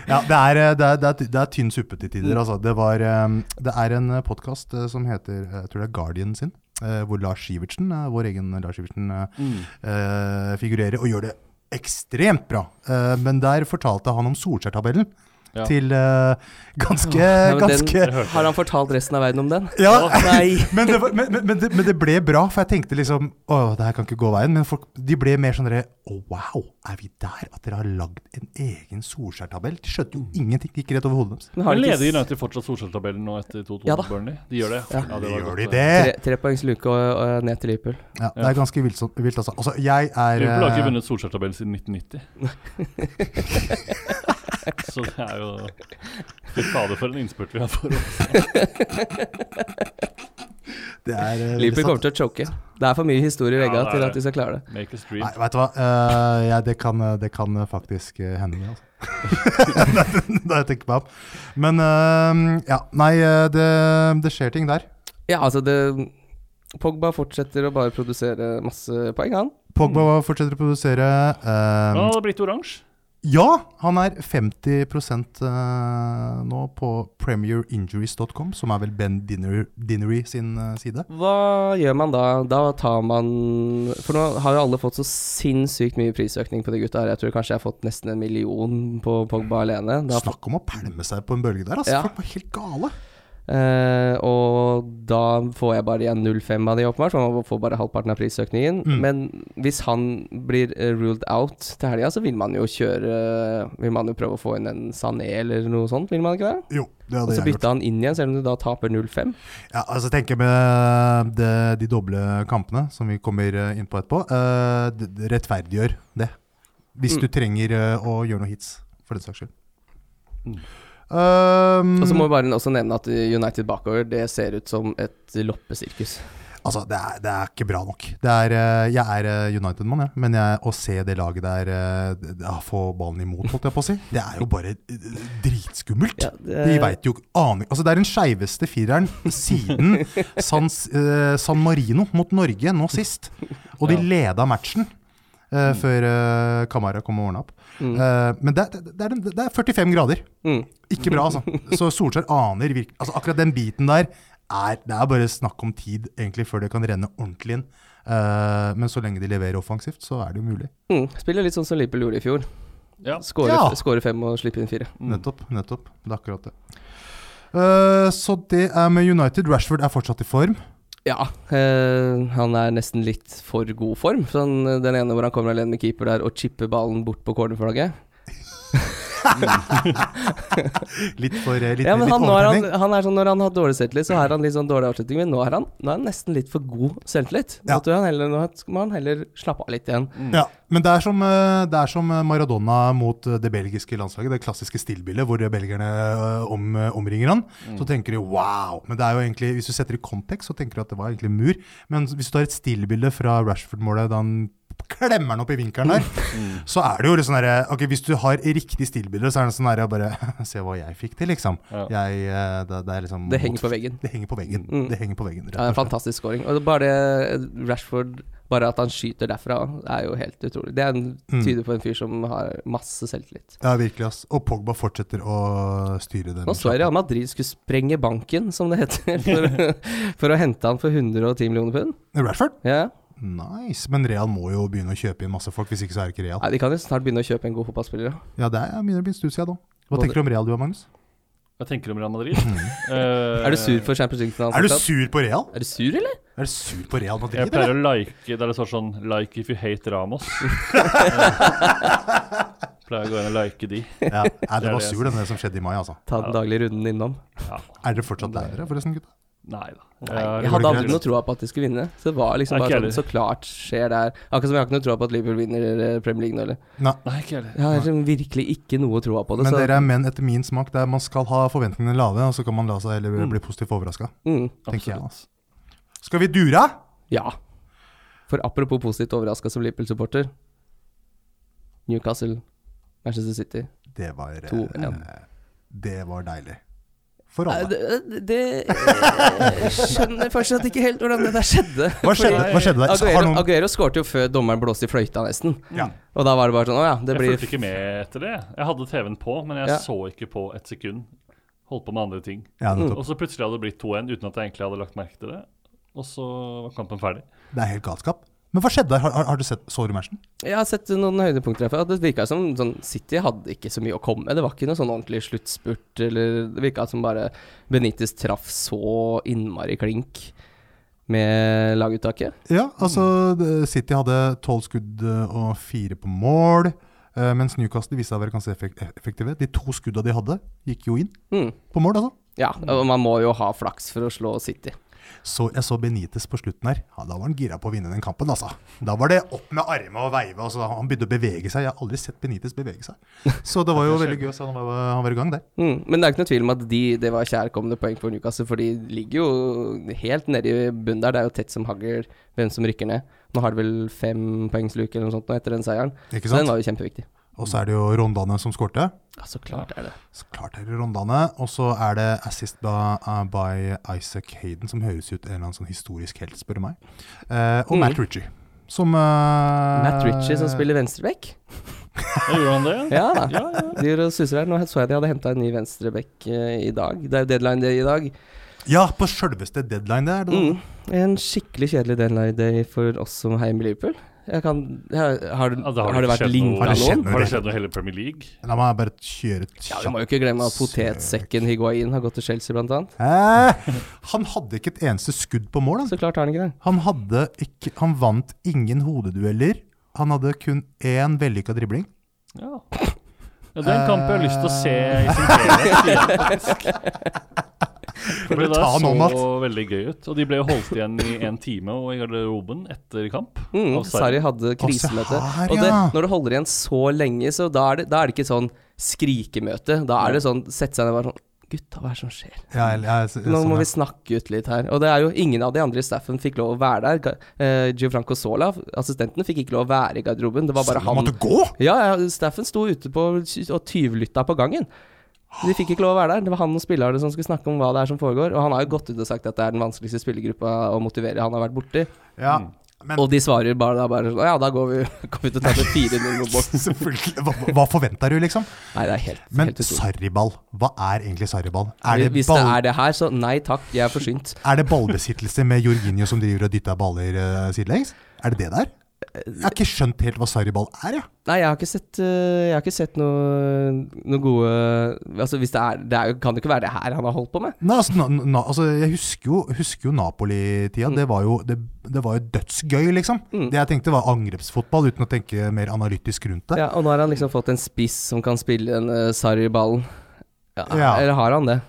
C: Ja, det er, eh, det er, det er, det er tynn suppe til tider, altså. Det, var, eh, det er en podkast som heter eh, Jeg tror det er Guardian sin. eh, Hvor Lars Sivertsen, eh, vår egen Lars Sivertsen, eh,
D: Mm.
C: eh, figurerer og gjør det ekstremt bra. Eh, Men der fortalte han om Solskjær-tabellen
E: Ja.
C: til eh, ganske,
D: men den-
C: ganske
D: Har han fortalt resten av verden om den?
C: ja,
D: Nei.
C: men, det var, men, men, men, det, men det ble bra, for jeg tenkte liksom Å, det her kan ikke gå veien. Men folk, de ble mer sånn derre Å, wow, er vi der? At dere har lagd en egen Solskjær-tabell? De skjønte jo
E: Mm.
C: ingenting. Det Gikk rett over hodet deres.
D: Men
E: Men
D: de ikke
E: leder
D: s-
E: United fortsatt Solskjær-tabellen nå etter 2-2
D: Ja
E: ja,
D: da.
E: Burnley? De gjør det?
D: Ja.
E: det var
C: Gjør
E: godt,
C: de
E: det.
C: det?
D: tre- Trepoengsluke og, og ned til Liverpool.
C: Ja, det er ganske vilt, vilt altså. altså. Jeg er
E: Liverpool har ikke
C: eh,
E: vunnet Solskjær-tabellen siden 1990. Så det er jo Fy fader, for en innspurt vi har for oss.
C: det er, eh, veldig
D: Liverpool
C: sant.
D: kommer til å choke. Det er for mye historie i
E: Ja,
D: veggene
E: det er
D: til
E: det.
D: at de skal klare det.
E: Make us dream.
C: Nei, vet du hva. Eh, ja, det, kan, det kan faktisk eh, hende, det, altså. da jeg tenker meg om. Men eh, ja, nei, eh, det, det skjer ting der.
D: Ja, altså det Pogba fortsetter å bare produsere masse poeng, han.
E: Mm.
C: Pogba fortsetter å produsere. eh,
E: Men han hadde blitt oransje.
C: Ja, han er 50 eh, nå på premierinjuries.com, som er vel Ben Dinner, Dinnery sin eh, side.
D: Hva gjør man da? Da tar man For nå har jo alle fått så sinnssykt mye prisøkning på de gutta her. Jeg tror kanskje jeg har fått nesten en million på Pogba alene. Da,
C: Snakk om å pælme seg på en bølge der, altså.
D: Ja.
C: Folk var helt gale.
D: eh, og da får jeg bare igjen 0,5 av de, åpenbart. For man får bare halvparten av prisøkningen.
C: Mm.
D: Men hvis han blir eh, ruled out til helga, så vil man jo kjøre Vil man jo prøve å få inn en Sané eller noe sånt, vil man ikke det?
C: Jo,
D: Og
C: det hadde
D: så
C: jeg gjort.
D: bytta han inn igjen, selv om du da taper 0,5.
C: Ja, altså tenker jeg med det, de doble kampene som vi kommer eh, inn på etterpå. eh, det- det rettferdiggjør det. Hvis du trenger eh, å gjøre noe hits, for den saks skyld. Ehm,
D: Og så må vi bare også nevne at United bakover, det ser ut som et loppesirkus.
C: altså, det er, det er ikke bra nok. Det er, eh, jeg er eh, United-mann, jeg. Men jeg, å se det laget der eh, det- det- få ballen imot, holdt jeg på å si, det er jo bare eh, dritskummelt.
D: Ja, eh. det-
C: De veit jo ikke aning Altså, det er den skeiveste fireren siden San, eh, San Marino mot Norge nå sist. Og de leda matchen. eh, før eh, Kamara kom og ordna opp. Eh, men det, det, det, er, den- det er 45 grader.
D: Mm.
C: Ikke bra, altså. Så Solskjær aner virkelig altså, Akkurat den biten der er, Det er bare snakk om tid, egentlig, før det kan renne ordentlig inn. Eh, men så lenge de leverer offensivt, så er det jo mulig.
D: Mm. Spiller litt sånn som Liverpool gjorde i fjor.
E: Ja.
D: Skårer
C: Ja.
D: skårer fem og slipper inn fire.
C: Nettopp. nettopp. Det er akkurat det. Eh, så det er med United. Rashford er fortsatt i form.
D: Ja, eh, han er nesten litt for god form. Sånn, eh, den ene hvor han kommer alene med keeper der og chipper ballen bort på cornerflagget.
C: Litt for eh, litt,
D: Ja, men
C: litt
D: han, nå er han,
C: overtenning.
D: han er sånn, når han har dårlig selvtillit, så er han litt sånn dårlig avslutning. Men nå er han, nå er han nesten litt for god selvtillit. Nå
C: Ja. Mm.
D: tror jeg han heller, nå må han heller slappe av litt igjen.
C: Ja, men det er som, eh, det er som eh, Maradona mot eh, det belgiske landslaget. Det klassiske stillbildet hvor eh, belgierne eh, om, eh, omringer han.
D: Mm.
C: Så tenker de wow. Men det er jo egentlig, hvis du setter det i kontekst, så tenker du at det var egentlig en mur. Men hvis du tar et stillbilde fra Rashford-målet da han klemmer han opp i vinkelen der,
D: Mm.
C: så er det jo litt sånn derre Ok, hvis du har riktig stillbilde, så er det sånn derre bare Se hva jeg fikk til, liksom.
E: Ja.
C: Jeg, eh, det, det er liksom
D: Det henger på veggen.
C: Det henger på veggen.
D: Mm.
C: Det henger på veggen
D: Ja, det er en
C: rett og slett.
D: fantastisk scoring. Og det er bare det Rashford Bare at han skyter derfra, er jo helt utrolig. Det er en,
C: Mm.
D: tyder på en fyr som har masse selvtillit.
C: Ja, virkelig, ass. Og Pogba fortsetter å styre den.
D: Nå så jeg Real Madrid skulle sprenge banken, som det heter, for, for å hente han for 110 millioner pund.
C: Rashford?
D: Ja.
C: Nice, men Real må jo begynne å kjøpe inn masse folk, hvis ikke så er det ikke Real.
D: Nei, de kan jo snart begynne å kjøpe en god fotballspiller. da.
C: Ja, det er, begynner å bli en stund siden da. Hva
D: Både-
C: tenker du om Real du, Magnus?
E: Hva tenker du om Real Madrid? Eh,
D: Er du sur for Champions League-finalen?
C: Er du
D: fortsatt?
C: sur på Real?
D: Er du sur, eller?
C: Er du sur på Real Madrid,
E: Jeg pleier
C: eller?
E: å like Der det står sånn 'like if you hate Ramos'. Eh, pleier å gå inn og like de.
C: Ja, Nei,
E: Det
C: det
E: er
C: var
E: det jeg
C: sur, den der som skjedde i mai, altså.
D: Ta den daglige runden innom.
E: Ja,
C: Er dere fortsatt lei dere, forresten, gutta?
E: nei da.
D: Jeg hadde aldri noe troa på at de skulle vinne. Så det var liksom
E: Nei,
D: bare
E: ikke
D: sånn,
E: heller.
D: så klart skjer det her. Akkurat som jeg har ikke noe troa på at Liverpool vinner eh, Premier League nå, eller.
C: Nei.
E: Nei, ikke heller.
D: Jeg har liksom virkelig ikke noe troa på det.
C: Men
D: så-
C: dere er menn etter min smak, der man skal ha forventningene lave, og så kan man la seg heller bli positivt overraska,
D: mm.
C: tenker jeg.
E: Absolutt.
C: Altså. Skal vi dure?
D: Ja. For apropos positivt overraska som Liverpool-supporter Newcastle, Manchester City
C: Det var, eh,
D: 2-1.
C: det var deilig. For
D: Nei,
C: alle.
D: Det, det Jeg skjønner fortsatt ikke helt hvordan det der skjedde.
C: Hva skjedde, hva skjedde der? Har
D: Aguero,
C: noen
D: Aguero skårte jo før dommeren blåste i fløyta, nesten.
C: Ja.
D: Og da var det bare sånn Å ja, det
E: Jeg
D: blir
E: fulgte ikke med etter det. Jeg hadde TV-en på, men jeg
D: Ja.
E: så ikke på et sekund. Holdt på med andre ting.
C: ja,
D: Mm.
C: nettopp.
E: Og så plutselig hadde det blitt 2-1 uten at jeg egentlig hadde lagt merke til det. Og så var kampen ferdig.
D: Mm.
C: Det er helt galskap. Men hva skjedde der? Har, har- har du sett, så du matchen?
D: Jeg har sett noen høydepunkter derfra. Det virka som sånn, City hadde ikke så mye å komme med. Det var ikke noe sånn ordentlig sluttspurt. Eller det virka som bare Benitez traff så innmari klink med laguttaket.
C: Ja, altså det- City hadde tolv skudd eh, og fire på mål. eh, Mens Newcastle viste seg å være ganske effek- effektive. De to skudda de hadde, gikk jo inn
D: Mm.
C: på mål. altså.
D: Ja, og man må jo ha flaks for å slå City.
C: Så Jeg så Benitez på slutten her. Ja, da var han gira på å vinne den kampen. altså. Da var det opp med armene og veive. altså. Han begynte å bevege seg. Jeg har aldri sett Benitez bevege seg. Så det var jo veldig gøy å se han var, han var i gang der.
D: Mm. Men det er ikke noe tvil om at de, det var kjærkomne poeng for Newcastle, for de ligger jo helt nede i bunnen der. Det er jo tett som hagl hvem som rykker ned. Nå har de vel fempoengsluke eller noe sånt nå etter den seieren.
C: Ikke
D: Så den
C: sant?
D: var jo kjempeviktig.
C: Og så er det jo Rondane som skårte.
D: Ja, så klart er det.
C: Så klart er det Rondane. Og så er det assist by, uh, by Isaac Hayden, som høres ut en eller annen sånn historisk helt, spør du meg. Eh, og
D: Mm.
C: Matt Ritchie. Som eh,
D: Matt Ritchie som spiller venstreback.
E: Ja, gjorde han det?
D: Ja da. De gjør og suser her. Nå så jeg de hadde henta en ny venstreback eh, i dag. Det er jo deadline day i dag.
C: Ja, på sjølveste deadline, det er det.
D: Mm. En skikkelig kjedelig deadline day for oss som heier med Liverpool. Jeg kan, har, har,
E: Ja,
D: har det vært
E: skjedd noe-
D: linka
C: Har det skjedd
D: noen?
C: noe?
E: Har det skjedd noe i hele Premier League?
C: La meg bare kjøre et
D: Ja, Vi må jo ikke glemme at potetsekken Higuain har gått til Chelsea, blant annet.
C: Hæ? Eh, Han hadde ikke et eneste skudd på mål. Han,
D: Så klart har han ikke det.
C: han, hadde ikke, han vant ingen hodedueller. Han hadde kun én vellykka dribling.
E: Ja. ja det er en kamp jeg har lyst til å se i sin helhet. For det
C: ta
E: der
C: han om
E: så
C: alt.
E: veldig gøy ut. Og de ble jo holdt igjen i en time og i garderoben etter kamp.
D: Mm,
E: av
D: Sarri
E: Sarri.
D: hadde krisemøte.
C: her,
D: Og det,
C: ja.
D: når du holder igjen så lenge, så da er det, da er det ikke sånn skrikemøte. Da er det sånn sette seg ned og bare sånn Gutta, hva er det som skjer?
C: Ja, jeg- jeg-
D: Nå
C: sånn,
D: må
C: ja.
D: vi snakke ut litt her. Og det er jo ingen av de andre i staffen fikk lov å være der. Ga- eh, Gianfranco Sola, assistenten, fikk ikke lov å være i garderoben. Det var bare
C: Så
D: han.
C: Måtte gå!
D: Ja, ja, staffen sto ute på og tyvlytta på gangen. De fikk ikke lov å være der. Det var han og spillerne som skulle snakke om hva det er som foregår. Og han har jo gått ut og sagt at det er den vanskeligste spillergruppa å motivere han har vært borti.
C: Ja, men
D: Og de svarer bare da bare sånn Ja, da går vi, går vi til å ta det 4-0 mot Bournemouth.
C: selvfølgelig. Hva, hva forventer du, liksom?
D: Nei, det er helt,
C: Men
D: helt utrolig.
C: sarriball, hva er egentlig sarriball? Er det,
D: Hvis det
C: ball,
D: er det her, så nei takk, jeg er forsynt.
C: er det ballbesittelse med Jorginho som driver og dytter baller eh, sidelengs? Er det det der? Jeg har ikke skjønt helt hva sarriball er, jeg.
D: Nei, jeg har ikke sett, eh, jeg har ikke sett noe, noe gode Altså, hvis det er Det er, jo- kan det ikke være det her han har holdt på med.
C: Nei, altså, na, na, altså, jeg husker jo, husker jo Napoli-tida. Det, var jo- det, det var jo dødsgøy, liksom.
D: Mm.
C: Det jeg tenkte var angrepsfotball, uten å tenke mer analytisk rundt det.
D: Ja, Og nå har han liksom fått en spiss som kan spille den uh, Sarri-ballen. Ja,
C: Ja.
D: Eller har han det?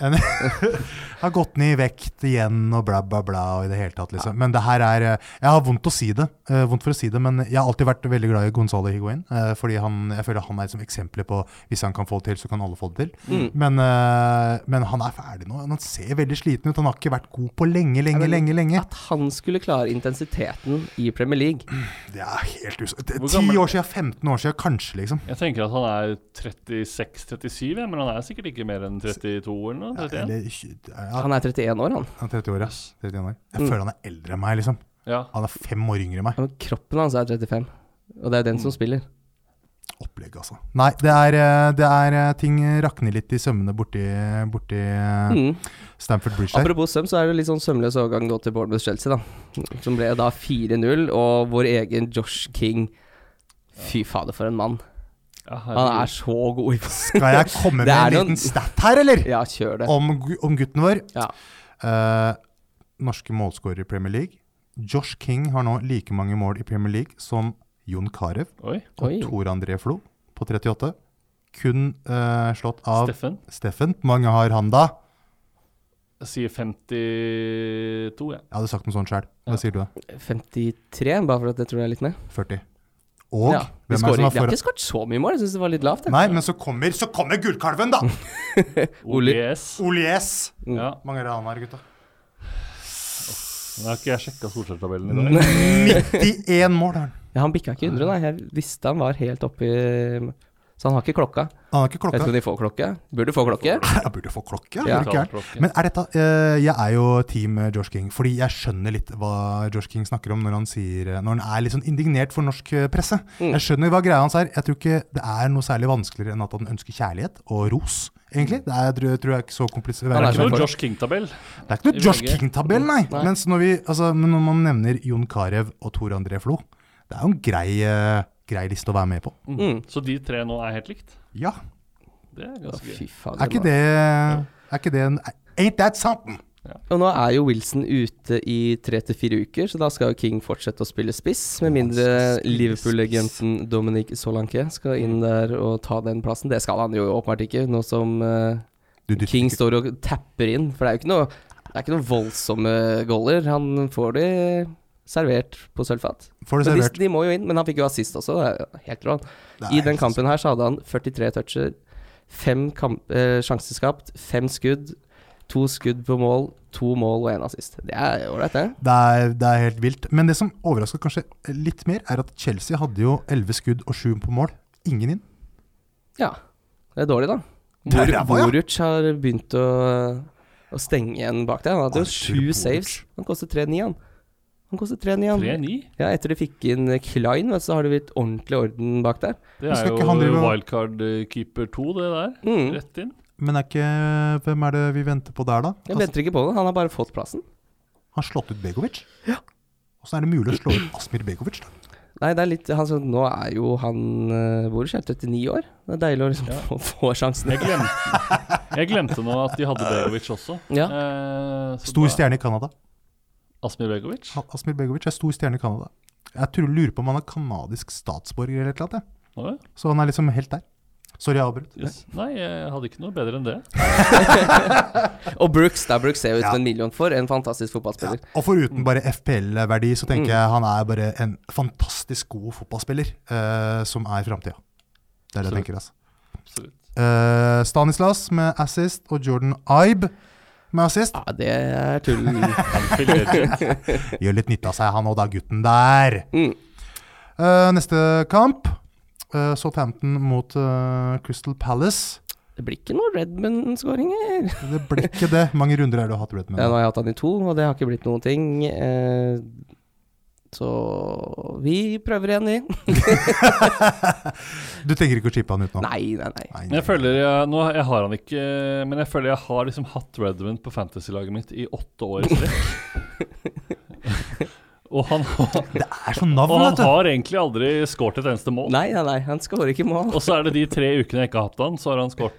C: Har gått ned i vekt igjen og bla, bla, bla og i det hele tatt, liksom. Men det her er eh, Jeg har vondt å si det, eh, vondt for å si det, men jeg har alltid vært veldig glad i Gonzalo Higuain. eh, Fordi han, jeg føler han er som eksempler på hvis han kan få det til, så kan alle få det til. Men, eh, men han er ferdig nå. Han ser veldig sliten ut. Han har ikke vært god på lenge, lenge,
D: men-
C: lenge. lenge.
D: At han skulle klare intensiteten i Premier League.
C: Det er helt us... Det
E: Hvor
C: er
E: gammel-
C: Ti år siden, 15 år siden, kanskje, liksom.
E: Jeg tenker at han er 36-37, jeg, men han er sikkert ikke mer enn 32 eller noe. 31.
C: Eller tjue- ja,
D: Han er 31 år, han.
C: han er 30 år, ass. 31 år. Jeg føler han er eldre enn meg, liksom.
E: Ja.
C: Han er fem år yngre enn meg.
D: Ja, Men kroppen hans er 35. Og det er den som
C: Mm.
D: spiller.
C: Opplegg, altså. Nei, det er, eh, det er eh, ting rakner litt i sømmene borti, borti eh,
D: Mm.
C: Stamford Bridge der.
D: Apropos søm, så er det litt sånn sømløs overgang nå til Bournemouth Chelsea, da. Som ble da 4-0, og vår egen Josh King Fy fader, for en mann.
E: Ja,
D: Han
E: herregud.
D: er så god i fotball.
C: Skal jeg komme med
D: Det er
C: en
D: noen-
C: liten stat her, eller?
D: Ja, kjør det.
C: Om, gu- om gutten vår.
D: Ja.
C: Eh, norske målskårer i Premier League. Josh King har nå like mange mål i Premier League som Jon Carew
E: Oi.
C: og
D: Oi.
C: Tor André Flo på 38. Kun eh, slått av
E: Steffen
C: Steffen, hvor mange har han da?
E: sier 52, jeg.
C: Jeg hadde sagt noe sånt sjøl. Hva sier du? da?
D: 53, bare for at jeg tror jeg er litt med.
C: 40. Og
D: ja. Vi,
C: hvem er
D: skårer,
C: det som
D: vi
C: har
D: har
C: foran
D: ikke skåret så mye mål, jeg syns det var litt lavt. jeg.
C: Nei, men så kommer, så kommer gullkalven, da!
D: Ole- Mm.
E: OGS.
C: Olies.
E: Ja.
C: Hvor mange er det han har, gutta?
E: Nå har ikke jeg sjekka solskjærtabellen i dag.
C: 91 mål har han.
D: Ja, han bikka ikke 100, nei. Jeg visste han var helt oppi Så han har ikke klokka.
C: Han har ikke
D: Jeg vet
C: klokka.
D: ikke om de får klokke. Burde få klokke.
C: Jeg burde få klokke. jeg.
D: Ja.
C: Er du gæren?
E: Klokke.
C: Men er dette eh, Jeg er jo team eh, Josh King, fordi jeg skjønner litt hva Josh King snakker om når han, sier, eh, når han er litt sånn indignert for norsk eh, presse.
D: Mm.
C: Jeg skjønner hva greia hans er. Jeg tror ikke det er noe særlig vanskeligere enn at han ønsker kjærlighet og ros, egentlig. Det er, tror, tror jeg er ikke så komplisert.
D: Han
E: Det
D: er
E: er ikke
D: som
E: noe Josh King-tabell.
C: Det er ikke noe
E: I
C: Josh
E: VG.
C: King-tabell, nei.
D: Nei.
C: Mens når, vi, altså, men når man nevner Jon Carew og Tor André Flo, det er jo en grei, eh, grei liste å være med på.
D: Mm.
E: Så de tre nå er helt likt.
C: Ja,
E: Det er
D: Å,
E: ganske gøy.
D: fy fader.
C: er ikke det, er ikke det en Ain't that something?
D: Og nå er jo Wilson ute i tre til fire uker, så da skal jo King fortsette å spille spiss. Med mindre Liverpool-legenden Dominic Solanke skal inn der og ta den plassen. Det skal han jo åpenbart ikke, nå som eh,
C: Du dytter
D: King
C: ikke-
D: står og tapper inn. For det er jo ikke noe, det er ikke noe voldsomme goller. Han får de servert på sølvfat.
C: Får
D: Men
C: det
D: de,
C: servert.
D: de må jo inn, men han fikk jo assist også. Det er jo helt rå.
C: Det
D: I
C: er
D: den
C: helt-
D: kampen her så hadde han 43 toucher, fem kamp, eh, sjanser skapt, fem skudd, to skudd på mål, to mål og én assist. Det er ålreit, det.
C: Det er, det er helt vilt. Men det som overrasker kanskje litt mer, er at Chelsea hadde jo elleve skudd og sju på mål. Ingen inn.
D: Ja. Det er dårlig, da.
C: Det er ræva, ja.
D: Boruc har begynt å, å stenge igjen bak der. Han hadde jo
C: Arthur
D: sju
C: Boruc.
D: saves. Han koster 3-9, han. Han koster 3-9, han.
E: 3-9.
D: Ja, etter de fikk inn Klein, vet du, så har det blitt ordentlig orden bak der.
E: Det
C: Men
E: er
C: skal
E: jo
C: ikke han drive-
E: wildcard eh, keeper 2, det der.
D: Mm.
E: Rett inn.
C: Men er ikke Hvem er det vi venter på der, da?
D: Jeg venter ikke på det. Han har bare fått plassen.
C: han har slått ut Begovic. Åssen er det mulig å slå ut Asmir Begovic, da?
D: Nei, det er litt han, sa- Nå er jo han eh, Boruc er 39 år. Det er deilig å liksom få, få sjansen.
E: Jeg glemte, jeg glemte nå at de hadde Begovic også.
D: Ja.
E: Eh, så
C: Stor
E: da-
C: stjerne i Canada.
E: Asmir Begovic.
C: Han- Asmir Begovic er stor stjerne i Canada. Jeg tror, lurer på om han er kanadisk statsborger eller noe.
E: Nå, ja.
C: Så han er liksom helt der. Sorry, jeg avbrøt.
E: Yes. Nei, jeg hadde ikke noe bedre enn det.
D: Og Brooks da Brooks ser jo ut som
C: Ja.
D: en million for. En fantastisk fotballspiller.
C: Og foruten bare FPL-verdi, så tenker jeg han er bare en fantastisk god fotballspiller eh, som er framtida. Det er det jeg
E: Absolutt.
C: tenker, altså.
E: Absolutt.
C: Eh, Stanislas med assist og Jordan Ibe med assist.
D: Ja, det er tull.
E: Han fillerer.
C: Gjør litt nytte av seg, han og da gutten der.
D: Mm.
C: Eh, neste kamp, eh, Southampton mot eh, Crystal Palace.
D: Det blir ikke noe Redmond-skåringer.
C: Det ble ikke det. Mange runder har du hatt Redman?
D: Ja, nå har jeg hatt han i to, og det har ikke blitt noen ting. Eh, så vi prøver igjen, vi.
C: Du tenker ikke å chippe han ut nå?
D: Nei, nei, nei.
C: Nei,
E: Men Jeg føler jeg, nå, jeg har han ikke Men jeg føler jeg har liksom hatt Redmond på fantasy-laget mitt i åtte år i strekk. og han, har-
C: Det er sånn
E: og
C: navn,
E: han
C: vet du.
E: har egentlig aldri skåret et eneste mål.
D: Nei, nei, nei. Han skårer ikke mål.
E: Og så er det de tre ukene jeg ikke har hatt han, så har han skåret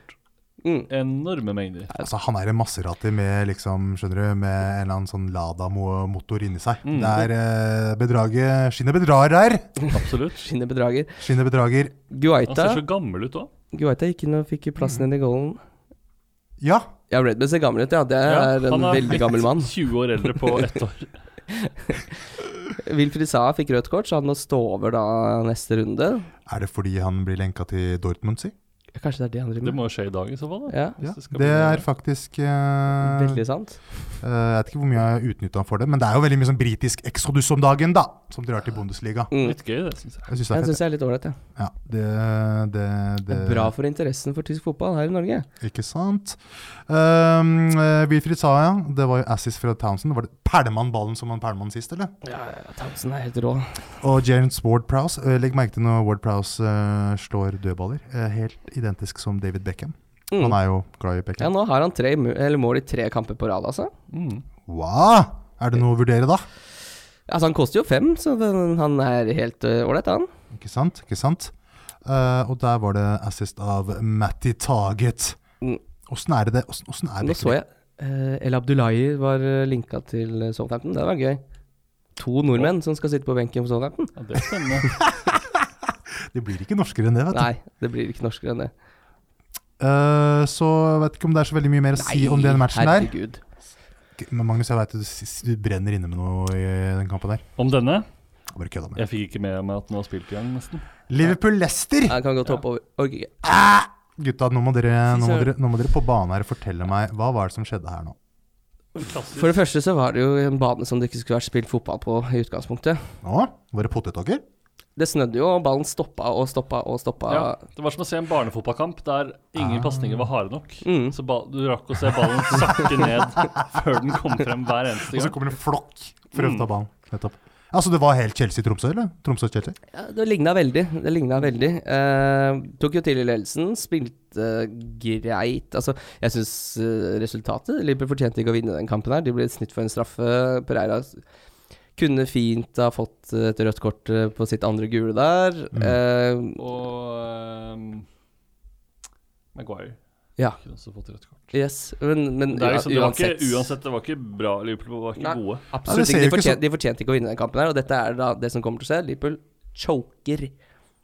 D: Mm.
E: enorme mengder.
C: Altså, han er en maserati med liksom, skjønner du, med en eller annen sånn Lada-motor inni seg.
E: Mm.
C: Det er eh, bedraget Skinnet bedrar der.
E: Absolutt.
D: Skinner bedrager.
C: Skinnet bedrager.
E: Han
D: Guaita,
E: ser så gammel ut òg.
D: Guaita gikk inn og fikk plassen inn i goalen.
C: Ja,
D: Ja, Redmond ser gammel ut, ja. Det er en veldig gammel mann.
E: 20 år eldre på ett år.
D: Wilfried Saha fikk rødt kort, så han må stå over da neste runde.
C: er det fordi han blir lenka til Dortmund, si?
D: Ja, Kanskje det er det han driver
E: Det
D: med?
E: må jo skje i dag i så fall. da
D: Ja,
C: Ja,
E: det skal
C: det
E: bli-
C: er faktisk eh,
D: Veldig sant.
C: eh, Jeg vet ikke hvor mye jeg utnytta han for det, men det er jo veldig mye sånn britisk exodus om dagen, da, som drar til Bundesliga.
D: Mm.
E: Litt gøy, det syns jeg.
C: Jeg syns det
D: Jeg syns
C: er fett.
D: det er litt ålreit, ja.
C: Ja, det, det,
D: Det
C: det
D: er bra for interessen for tysk fotball her i Norge.
C: Ikke sant. Um, eh, Wilfried Saha, ja. Det var jo assist fra Townsend. Var det Perlemann ballen som han Perlemann sist, eller?
D: Ja, Townsend er helt rå.
C: Og James Ward-Prowse. eh, legg merke til når Ward-Prowse eh, slår dødballer. Eh, helt identisk som David Beckham. Han er jo glad i
D: Mm. Ja,
C: Beckham.
D: nå har han tre, mu- eller mål i tre kamper på rad, altså.
E: Mm.
C: Wow! Er det noe å vurdere, da?
D: Altså, han koster jo fem, så den, han er helt øh, ålreit, han.
C: Ikke sant? Ikke sant? Eh, og der var det assist av Matty Taget.
D: Mm.
C: Åssen er det det? Åssen- Åssen er det?
D: Nå så jeg eh, El Abdullahi var øh, linka til øh, Southampton. Det var gøy. To nordmenn som skal sitte på benken for Southampton.
E: Ja, det er spennende.
C: Det blir ikke norskere enn det, vet du.
D: Nei, det blir ikke norskere enn det.
C: Eh, så jeg vet ikke om det er så veldig mye mer å si om den matchen der.
D: herregud.
C: Men Magnus, jeg vet du, s- du brenner inne med noe i den kampen der.
E: Om denne
C: Jeg Bare kødda med det.
E: Jeg fikk ikke med meg at den var spilt i gang, nesten.
C: Liverpool-Lester!
D: Jeg kan godt hoppe over. Ok,
C: Gutta, nå må, dere, nå, må
D: Fy søren.
C: dere, nå må dere på banen her og fortelle meg hva var det som skjedde her nå.
E: Klassisk.
D: For det første så var det jo en bane som det ikke skulle vært spilt fotball på i utgangspunktet.
C: Nå, var det potetåker?
D: Det snødde jo, og ballen stoppa og stoppa og stoppa.
E: Ja, det var som å se en barnefotballkamp der
C: Ah.
E: ingen pasninger var harde nok.
D: Mm.
E: Så ba du rakk å se ballen sakke ned før den kom frem hver eneste
C: Og så
E: gang.
C: kommer det en flokk for å
D: Mm.
C: ta banen. Nettopp. Altså, det var helt Chelsea-Tromsø, eller? Tromsø-Chelsea?
D: Ja, det ligna veldig. Det lignet veldig. Eh, tok jo tidlig ledelsen, spilte eh, greit. Altså, jeg syns resultatet Liverpool fortjente ikke å vinne den kampen her. De ble snytt for en straffe. Pereira s- kunne fint ha fått eh, et rødt kort eh, på sitt andre gule der.
E: Mm.
D: Eh,
E: Og ehm, Maguire.
D: Ja.
E: Kunne også fått rødt kort.
D: yes, men, men
E: Det, er liksom, det var ikke,
D: uansett-
E: uansett, det var ikke bra. Liverpool var ikke
D: Nei.
E: gode.
C: Ja, det
D: Absolutt
C: ser
D: ikke. De
C: jo ikke
D: fortjente, de fortjente ikke å vinne den kampen her, og dette er da det som kommer til å skje. Liverpool choker,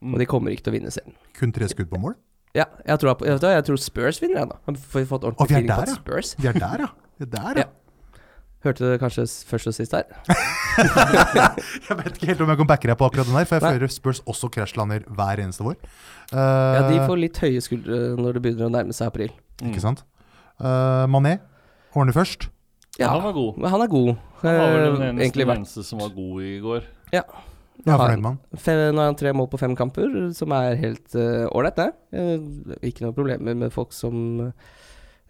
E: Mm.
D: og de kommer ikke til å vinne serien.
C: Kun tre skudd på mål?
D: Ja, jeg tror, jeg, jeg, jeg tror Spurs vinner ennå. Har vi fått
C: Å,
D: ordentlig
C: vi er
D: feeling på
C: der,
D: at
C: ja.
D: Spurs
C: Vi er der, ja. Vi er der, ja.
D: Ja. Hørte du kanskje s- først og sist her?
C: Jeg vet ikke helt om jeg kan backe deg på akkurat den der, for jeg
D: Nei.
C: føler Spurs også krasjlander hver eneste vår. Eh,
D: Ja, De får litt høye skuldre når det begynner å nærme seg april.
C: Ikke sant? Eh, Mané ordner først.
D: Ja,
E: Han var god.
D: men han er god.
E: Han var
D: Eh,
E: vel den eneste,
D: Egentlig
E: den
D: vært
E: eneste som var god i går.
D: Ja.
C: Jeg
D: Ja.
C: er fornøyd med han.
D: Fe- Nå har han tre mål på fem kamper, som er helt eh, ålreit, det. Eh, ikke noe problemer med folk som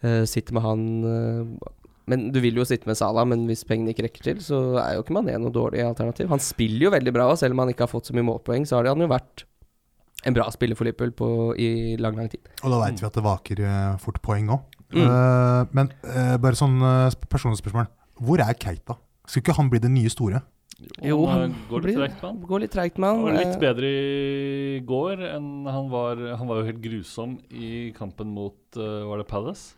D: eh, sitter med han eh, Men du vil jo sitte med Salah, men hvis pengene ikke rekker til, så er jo ikke Mané noe dårlig alternativ. Han spiller jo veldig bra, og selv om han ikke har fått så mye målpoeng, så har han jo vært en bra spiller for Liverpool på, i lang, lang tid.
C: Og da veit vi at det vaker eh, fort poeng òg.
D: Mm.
C: men eh, bare sånn eh, sp- personlig spørsmål. Hvor er Keita? Skulle ikke han bli det nye store?
D: Jo,
E: han,
D: han
E: eh, går litt
D: blir-
E: tregt med han.
D: Går litt treigt med
E: Han var
D: han.
E: litt
D: eh,
E: bedre i går enn han var. Han var jo helt grusom i kampen mot eh, Var det Palace?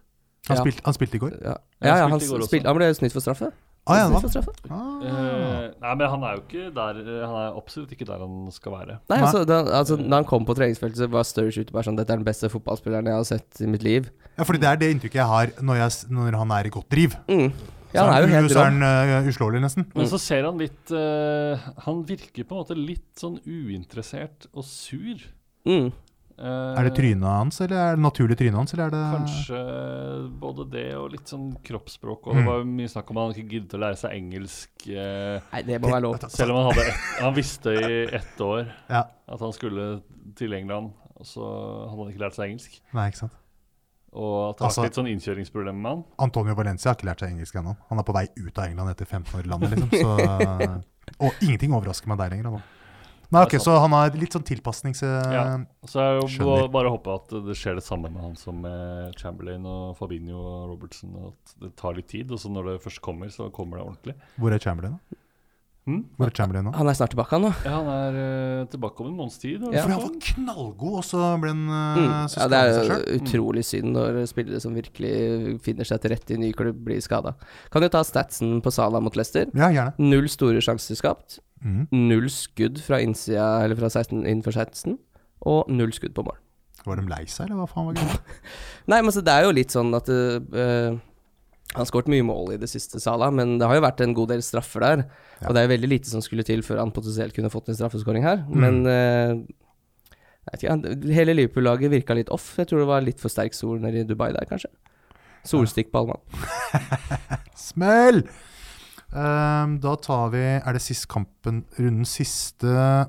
C: Han,
D: Ja.
C: spilte, han spilte i går.
D: Ja, Eh,
E: Ja,
D: ja,
E: han
D: han,
E: spilte i går også.
D: spilte, han ble snytt for straffe.
C: Ah, ja, det var-
D: Straffe.
E: Eh, nei, men han er jo ikke der eh, Han er absolutt ikke der han skal være.
D: Nei,
C: Nei.
D: altså da, altså, da han kom på treningsfeltet, så var Sturridge ute bare sånn Dette er den beste fotballspilleren jeg har sett i mitt liv.
C: ja, fordi det er det inntrykket jeg har når, jeg, s- når han er i godt driv.
D: Mm. Ja, han er jo helt
C: så
D: rå.
C: er han eh, uslåelig, nesten.
E: Men så ser han litt eh, Han virker på en måte litt sånn uinteressert og sur.
D: Mm.
E: Eh,
C: Er det trynet hans, eller er det naturlig trynet hans? Eller er det
E: Kanskje både det og litt sånn
C: Mm.
E: kroppsspråk. Og det var jo mye snakk om at han ikke giddet å lære seg engelsk. eh,
D: Nei, det må være lov.
E: selv om han, hadde ett, han visste i ett år
C: Ja,
E: at han skulle til England, og så hadde han ikke lært seg engelsk.
C: nei, ikke sant.
E: Og at det
C: Altså-
E: var litt sånn innkjøringsproblemer med han.
C: Antonio Valencia har ikke lært seg engelsk ennå. Han er på vei ut av England etter 15 år i landet, liksom. Så, og ingenting overrasker meg der lenger. Altså. Nei, ok,
E: Det er sant.
C: Så han har litt sånn tilpasnings...
E: Ja. Og Så er det jo
C: Skjønner.
E: ba- bare å håpe at det skjer det samme med han som med Chamberlain og Fabinho og Robertson. og At det tar litt tid, og så når det først kommer, så kommer det ordentlig.
C: Hvor er Chamberlain, da?
E: Hm?
C: Hvor er Chamberlain nå?
D: Han er snart tilbake, han, da.
E: Ja, han er eh, tilbake om en måneds tid. eller
D: Ja.
E: noe
C: Fordi han var
E: sånt.
C: knallgod, og så ble han eh,
D: Mm.
C: så
D: Ja, det
C: skadet
D: er
C: seg
D: jo
C: selv.
D: utrolig synd når spillere som virkelig finner seg til rette i en ny klubb, blir skada. Kan jo ta statsen på Salah mot Leicester.
C: Ja, gjerne.
D: Null store sjanser skapt.
C: Mm.
D: Null skudd fra innsida, eller fra 16, innenfor 16, og null skudd på mål.
C: Var de lei seg, eller hva faen var greia?
D: Nei, men altså, det er jo litt sånn at eh, Han har skåret mye mål i det siste, Sala, men det har jo vært en god del straffer der.
C: Ja.
D: Og det er jo veldig lite som skulle til før han potensielt kunne fått en straffeskåring her. Men eh, jeg vet ikke, han- hele Liverpool-laget virka litt off. Jeg tror det var litt for sterk sol nede i Dubai der, kanskje. Solstikk på Alman.
C: Smell! Ehm, da tar vi Er det sist kampen? Rundens siste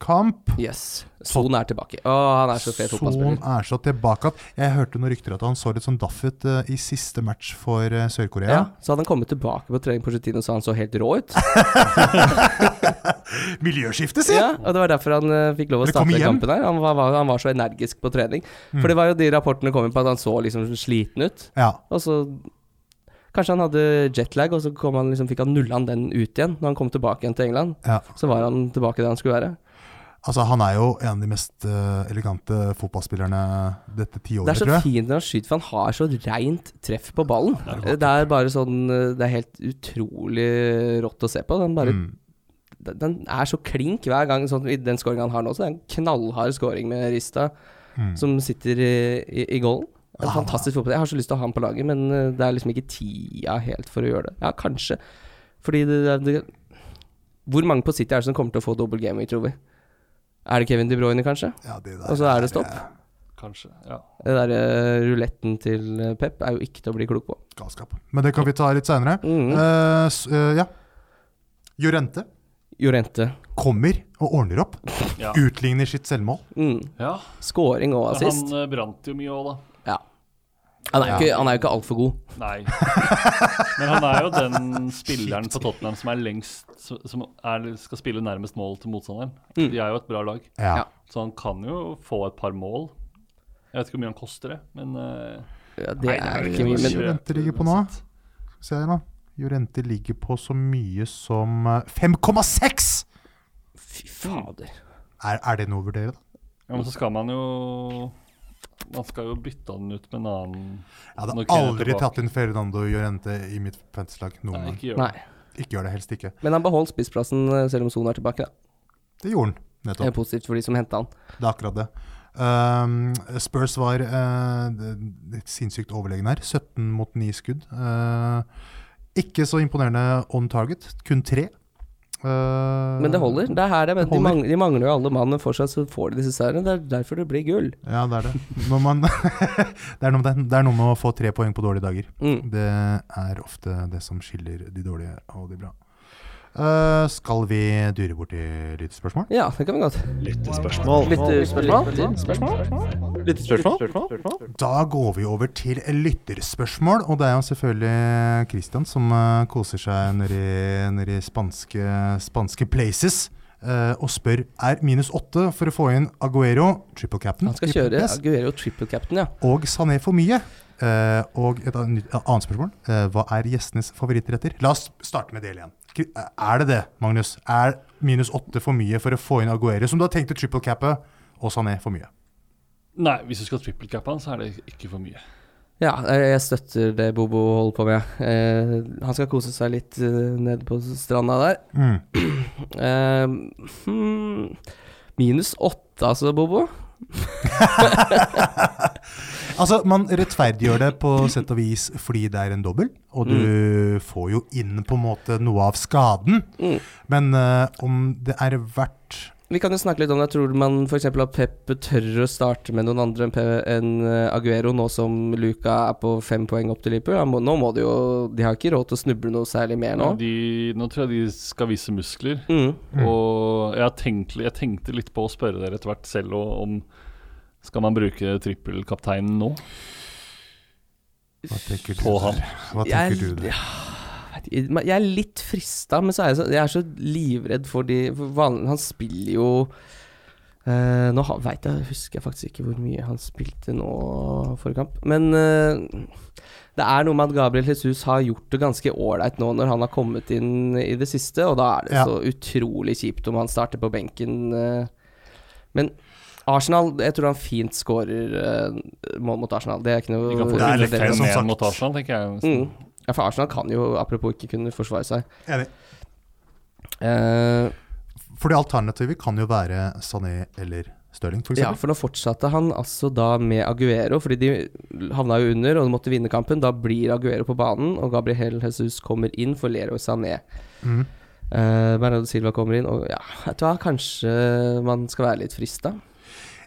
C: kamp?
D: Yes. Son er tilbake. Å, han er så fet
C: Son
D: fotballspiller.
C: er så tilbake at Jeg hørte noen rykter at han så litt sånn daff ut eh, i siste match for eh,
D: Ja.
C: Sør-Korea.
D: Så hadde han kommet tilbake på trening på Argentina, så han så helt rå ut.
C: Miljøskifte, si!
D: Ja, og det var derfor han eh, fikk lov å
C: Eller kom
D: starte den
C: hjem. Mm.
D: kampen der. Han var, var- han var så energisk på trening. For det var jo de rapportene kom inn på at han så liksom sliten ut.
C: Ja.
D: Og så Kanskje han hadde jetlag, og så kom han liksom, fikk han nulla han den ut igjen. Når han kom tilbake igjen til England,
C: ja.
D: så var han tilbake der han skulle være.
C: Altså, han er jo en av de mest eh, elegante fotballspillerne dette
D: Det
C: tiåret,
D: er
C: tror
D: så
C: jeg.
D: fint når han skyter, for han har så reint treff på ballen.
C: det er
D: Det er bare sånn eh, Det er helt utrolig rått å se på. Den, bare,
C: Mm.
D: den- den er så klink hver gang, sånn i den scoringen han har nå. Så det er en knallhard scoring med Rista.
C: Mm.
D: som sitter i, i, i goalen. En
C: Ja,
D: fantastisk fotball. Jeg har så lyst til å ha han på laget, men eh, det er liksom ikke tida helt for å gjøre det. Ja, kanskje. Fordi det, det Hvor mange på City er det som kommer til å få dobbel game week, tror vi? Er det Kevin De Bruyne, kanskje?
C: Ja, det der
D: Og så er det
C: eh,
D: stopp.
E: Kanskje. ja.
D: Den derre eh, ruletten til eh, Pep er jo ikke til å bli klok på.
C: eh, Galskap. Men det kan vi ta litt seinere.
D: Mhm.
C: eh, ja. Jorente
D: Jorente.
C: kommer og ordner opp.
E: Ja.
C: Utligner sitt selvmål.
D: Mm.
E: ja.
D: Scoring og
E: Men han
D: assist.
E: eh, brant jo mye òg, da.
D: Ja. Han er jo ikke, han er jo ikke altfor god.
E: Nei. Men han er jo den spilleren på Tottenham som er lengst Som som er, skal spille nærmest mål til motstanderen.
D: Mm.
E: De er jo et bra lag,
C: Ja.
D: Ja.
E: så han kan jo få et par mål. Jeg vet ikke hvor mye han koster, det, men eh,
D: Ja, det
E: Nei,
D: er
E: jo
D: ikke mye, men
E: mye.
C: Jorente ligger på nå. Se her, da. Jorente ligger på så mye som eh, 5,6!
D: fy fader.
C: Er, er det noe å vurdere, da?
E: Ja, men så skal man jo Man skal jo bytte han ut med en annen
C: Jeg hadde
E: Nå kunne jeg
C: aldri
E: tilbake.
C: tatt inn Ferdinando Jorente i mitt fantasy-lag noen
E: Nei,
C: gang.
E: ikke gjør
D: Nei.
E: det.
C: Ikke gjør det, helst ikke.
D: Men han beholdt spissplassen eh, selv om Son er tilbake, da.
C: Det gjorde han,
D: Det er
C: nettopp.
D: positivt for de som henta han.
C: Det er akkurat det. Ehm, Spurs var eh, litt sinnssykt overlegen her. 17 mot 9 skudd. Eh, ikke så imponerende on target, kun tre. Eh,
D: Men det holder. Det er her jeg mener, de,
C: holder.
D: mangler, de mangler jo alle mann, men fortsatt så får de disse seierne. Det er derfor det blir gull.
C: Ja, det er det. Når man, det, er noe med det. det er noe med å få tre poeng på dårlige dager.
D: Mm.
C: Det er ofte det som skiller de dårlige og de bra. Eh, skal vi dure bort i lyttespørsmål?
D: Ja, det kan vi godt.
A: Lyttespørsmål.
C: Da går vi over til lytterspørsmål, og det er jo selvfølgelig Christian som eh, koser seg nedi, nedi spanske, spanske places eh, og spør er minus åtte for å få inn Aguero, triple captain,
D: Han skal
C: triple
D: kjøre
C: S,
D: Aguero triple captain, ja.
C: og Sané for mye. Eh, og et annet nytt- et annet spørsmål. eh, hva er gjestenes favorittretter? La oss starte med det igjen. Kri- Er det det, Magnus? Er minus åtte for mye for å få inn Aguero, som du har tenkt å triple cappe, og Sané for mye?
E: Nei, hvis du skal trippelcappe han, så er det ikke for mye.
D: Ja, eh, jeg støtter det Bobo holder på med. Eh, han skal kose seg litt eh, nede på stranda der.
C: Mm.
D: Eh, hmm, minus åtte, altså, Bobo.
C: Altså, Man rettferdiggjør det på sett og vis fordi det er en dobbel, og du får jo inn på en måte noe av skaden.
D: Mm.
C: Men eh, om det er verdt
D: Vi kan jo snakke litt om det. Tror du man f.eks. at Pep tør å starte med noen andre enn Pe- enn eh, Aguero, nå som Luca er på fem poeng opp til Liverpool? Han må, nå må de jo De har ikke råd til å snuble noe særlig mer nå.
E: De, nå tror jeg de skal vise muskler.
D: Mm.
E: Og jeg, har tenkt, jeg tenkte litt på å spørre dere etter hvert selv og om Skal man bruke trippelkapteinen nå
C: Hva tenker du
E: på
C: der?
E: han?
C: Hva
D: Jeg-
C: tenker du der?
D: vet ikke, men Jeg er litt frista, men så er jeg så, jeg er så livredd for de for vanlig, Han spiller jo eh, Nå har- vet jeg, husker jeg faktisk ikke hvor mye han spilte nå forrige kamp. Men eh, det er noe med at Gabriel Jesus har gjort det ganske ålreit nå når han har kommet inn i det siste, og da er det
C: Ja.
D: så utrolig kjipt om han starter på benken. eh. men Arsenal, jeg tror han fint skårer eh, mål mot Arsenal. Det er ikke noe
E: De kan få
C: Det er
E: til
C: litt feil, som
E: 5-1
C: sagt.
E: mot Arsenal, tenker jeg.
D: Mm. Ja, for Arsenal kan jo apropos ikke kunne forsvare seg.
C: Enig.
D: Eh,
C: Fordi alternativet kan jo være Sané eller Stirling, f.eks.
D: ja, for nå fortsatte han altså da med Aguero, fordi de havna jo under og måtte vinne kampen. Da blir Aguero på banen, og Gabriel Jesus kommer inn for Leroy Sané.
C: Mm.
D: Eh, Bernardo Silva kommer inn, og ja, vet du hva, kanskje man skal være litt frista.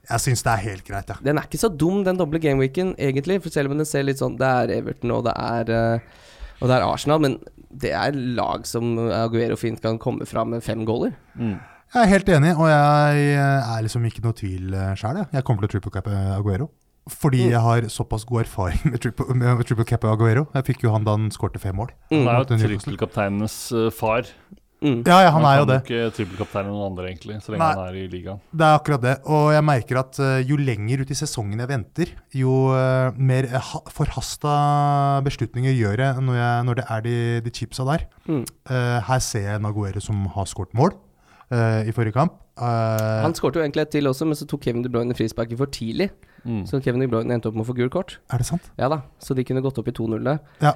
C: Jeg syns det er helt greit, jeg.
D: Den er ikke så dum, den doble gameweeken, egentlig. For selv om den ser litt sånn Det er Everton, og det er, eh, og det er Arsenal, men det er lag som Aguero fint kan komme fra med fem goaler.
E: Mm.
C: Jeg er helt enig, og jeg eh, er liksom ikke noe tvil sjøl. Jeg. jeg kommer til å triple cap eh, Aguero. Fordi
D: Mm.
C: jeg har såpass god erfaring med triple, med triple cap Aguero. Jeg fikk jo han da han skårte fem mål.
E: Han er
C: Mot
E: jo
C: Newcastle.
E: trippelkapteinenes eh, far.
D: Mm.
C: Ja, ja, han
E: Man
C: er jo
E: kan
C: det.
E: ikke trippelkapteine noen andre, egentlig, så lenge
C: Nei.
E: han er i ligaen.
C: Det er akkurat det. Og jeg merker at eh, jo lenger ut i sesongen jeg venter, jo eh, mer eh, ha- forhasta beslutninger gjør jeg når, jeg, når det er de, de chipsa der.
D: Mm.
C: Eh, her ser jeg en Aguero som har skåret mål eh, i forrige kamp. Eh,
D: Han skårte jo egentlig et til også, men så tok Kevin De Bruyne frisparket for tidlig.
E: Mm.
D: Så Kevin De Bruyne endte opp med å få gult kort.
C: er det sant?
D: Ja da, så de kunne gått opp i 2-0 der.
C: Ja.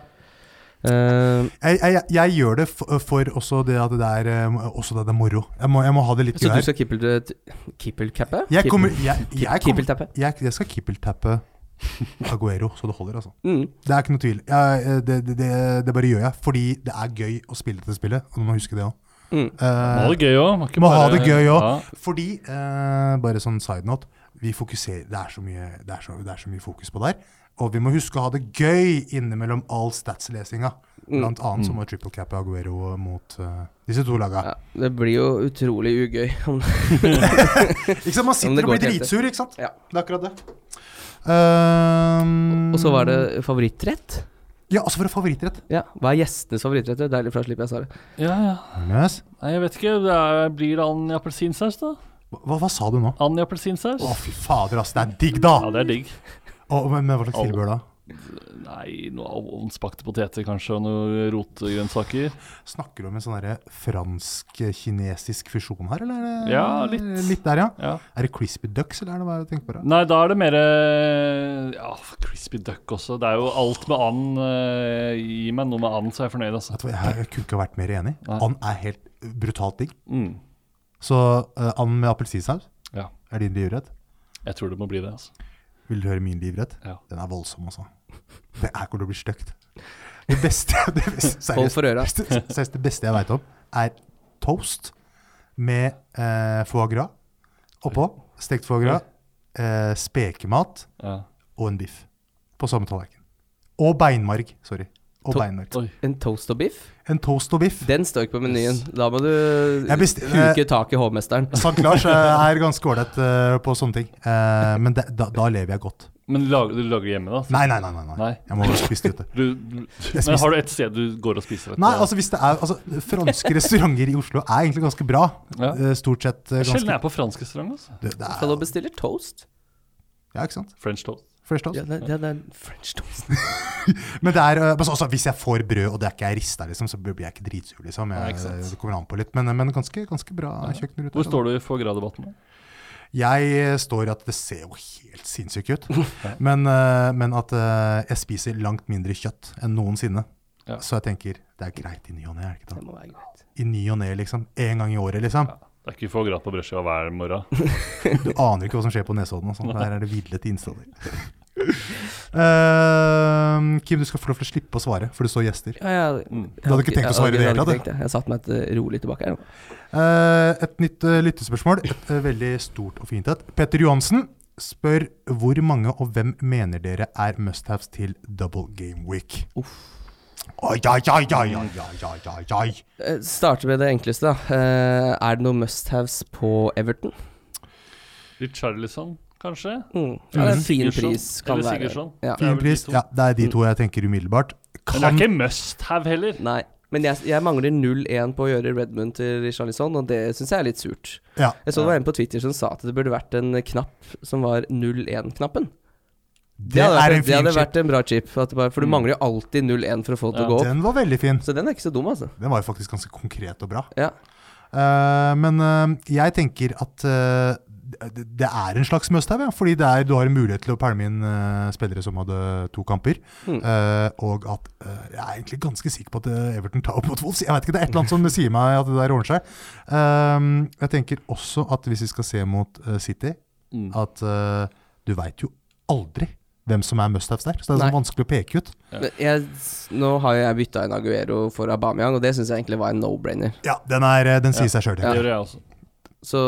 D: Eh,
C: Jeg, jeg, jeg gjør det for, for også det at det er, eh, også det at det er moro. Jeg må, jeg må ha det litt
D: så du
C: gøy her.
D: skal kippel- kippelcappe?
C: Jeg, kommer,
D: Kippel-
C: jeg, jeg, kommer,
D: Kippeltappe?
C: jeg, jeg skal kippeltappe Aguero, så det holder, altså.
D: Mm.
C: Det er ikke noe tvil. Jeg, eh, det, det, det, det bare gjør jeg. Fordi det er gøy å spille dette spillet. Og du må huske det òg.
D: Mm.
E: Må ha det gøy òg.
C: må ha det gøy også. fordi, eh, bare sånn side note, vi fokuserer, det, er så mye, det, er så, det er så mye fokus på der. Og vi må huske å ha det gøy innimellom all statslesinga.
D: Mm.
C: Blant annet så må triple cap Aguero mot eh, disse to laga.
D: Ja, det blir jo utrolig ugøy.
C: Ikke sant?
D: Ja, men
C: Man
D: det
C: sitter og blir
D: går ikke helt.
C: dritsur, ikke sant?
D: Ja.
C: Det er akkurat det. Ehm,
D: Og så var det favorittrett.
C: Ja, altså for en favorittrett.
D: Ja, Hva er gjestenes favorittrett? Det er Deilig, for da slipper jeg svaret.
E: Ja, ja.
C: Yes.
E: Nei, jeg vet ikke. Det er, blir and i appelsinsaus, da?
C: Hva, hva sa du nå? Å,
E: And i appelsinsaus?
C: fy fader, ass. Det er digg, da!
E: Ja, det er digg.
C: Å, men, men hva slags tilbehør da?
E: Nei, noe av- ovnsbakte poteter kanskje, og noen rotgrønnsaker.
C: Snakker du om en sånn derre fransk-kinesisk fusjon her, eller? er det-
E: Ja, litt.
C: Litt der, ja.
E: Ja.
C: Er det crispy ducks, eller er det hva er det du tenker på? da?
E: Nei, da er det mer eh, ja, crispy duck også. Det er jo alt med and. eh, Gi meg noe med and, så er jeg fornøyd, altså.
C: Vet du hva, Jeg jeg kunne ikke vært mer enig.
E: Nei.
C: And er helt brutalt digg.
E: Mm.
C: Så eh, and med appelsinsaus
E: Ja.
C: er din livredd.
E: Jeg tror det må bli det, altså.
C: Vil du høre min livredd?
E: Ja.
C: Den er voldsom, altså. Det er hvor det blir stygt. Det beste det beste,
D: Hold
C: seriøst,
D: for øra.
C: seriøst, det beste jeg veit om, er toast med eh, foie gras oppå. Stekt foie gras. Eh, spekemat.
E: Ja.
C: og en biff på samme tallerken. Og beinmarg. Sorry. Og
D: To-
C: beinmarg.
E: Oi.
D: En toast og biff?
C: En toast og biff.
D: Den står ikke på menyen. Da må du
C: Jeg best-
D: huke tak i hovmesteren.
C: St. Lars eh, er ganske ålreit eh, på sånne ting, Eh, men det- da, da lever jeg godt.
E: Men lager, du lager hjemme, da?
C: Nei, nei, nei. nei, nei.
E: Nei.
C: Jeg må spise det ute.
E: Du, du,
C: spiste-
E: men har du et sted du går og spiser? dette?
C: Nei, altså hvis det er altså, Franske restauranter i Oslo er egentlig ganske bra.
E: Ja.
C: Eh, Stort sett eh,
E: Det er Sjelden jeg
C: ganske
E: er på fransk restaurant. altså.
C: det, det
D: Skal du
C: er,
D: bestille toast?
C: Ja, ikke sant?
E: French toast.
C: Fresh toast.
D: Ja, det, det, det er French toast.
C: Men det er, eh, altså, altså, hvis jeg får brød, og det er ikke jeg rista, liksom, så blir jeg ikke dritsur, liksom.
E: Nei,
C: Jeg,
E: ikke sant.
C: det kommer an på litt, men, men ganske, ganske bra kjøkkenrute.
E: Hvor står du i for gradebatten?
C: Jeg eh, står i at det ser jo helt sinnssykt ut, men, eh, men at eh, jeg spiser langt mindre kjøtt enn noensinne.
E: Ja.
C: Så jeg tenker det er greit i ny og ne, er det
D: Det
C: ikke det?
D: må være greit.
C: I ny og ne, liksom. En gang i året, liksom.
E: Det er ikke få gratt på brødskiva hver morgen.
C: Du aner ikke hva som skjer på Nesodden. Altså. Der er det ville tilstander. Eh, Kim, du skal få lov til å slippe å svare, for du står gjester.
D: Ja, ja.
C: Du hadde ikke tenkt å svare i det hele tatt?
D: tatt? Jeg satte meg et eh, rolig tilbake her. nå.
C: Eh, et nytt eh, lyttespørsmål. Et eh, veldig stort og fint et. Petter Johansen spør hvor mange og hvem mener dere er must-haves til double game week? Oi, oi, oi, oi, oi, oi, oi, oi, oi.
D: Eh, Starter med det enkleste, da. Eh, Er det noen must-haves på Everton?
E: Litt Charlison, kanskje?
D: Mm. Ja, det er en fin
E: Sigurdsson,
D: pris kan
E: eller
D: være.
E: Sigurdsson.
D: Ja.
E: Det er vel de
C: Finpris.
E: to. Mm.
C: Ja, det er de to jeg tenker umiddelbart.
E: Men det er
C: Kan,
E: ikke must have heller.
D: Nei. Men jeg, jeg mangler 0-1 på å gjøre Redmond til Richarlison, og det syns jeg er litt surt.
C: ja,
D: Jeg så det var en på Twitter som sa at det burde vært en knapp som var 0-1-knappen.
C: det er en
D: det
C: fin
D: hadde
C: chip.
D: vært en bra chip, at det bare,
E: Mm.
D: for du mangler jo alltid 0-1 for å få det til å gå opp.
C: Den var veldig fin.
D: Så den er ikke så dum, altså.
C: Den var jo faktisk ganske konkret og bra.
D: Ja.
C: Eh, men eh, jeg tenker at eh, det det er en slags must-have, ja, fordi det er, du har en mulighet til å pælme inn eh, spillere som hadde to kamper.
D: Mm.
C: Eh, og at eh, jeg er egentlig ganske sikker på at eh, Everton tar opp mot Wolves. Jeg vet ikke, Det er et eller annet som sier meg at det der ordner seg. Eh, jeg tenker også at hvis vi skal se mot eh, City,
E: Mm.
C: at eh, du veit jo aldri hvem som er must-haves der. Så det er sånn
D: Nei.
C: vanskelig å peke ut.
D: Men jeg, nå har jo jeg bytta inn Aguero for Aubameyang, og det syns jeg egentlig var en no-brainer.
C: Ja, den, er, eh, den sier seg sjøl.
E: Det gjør jeg også.
D: Så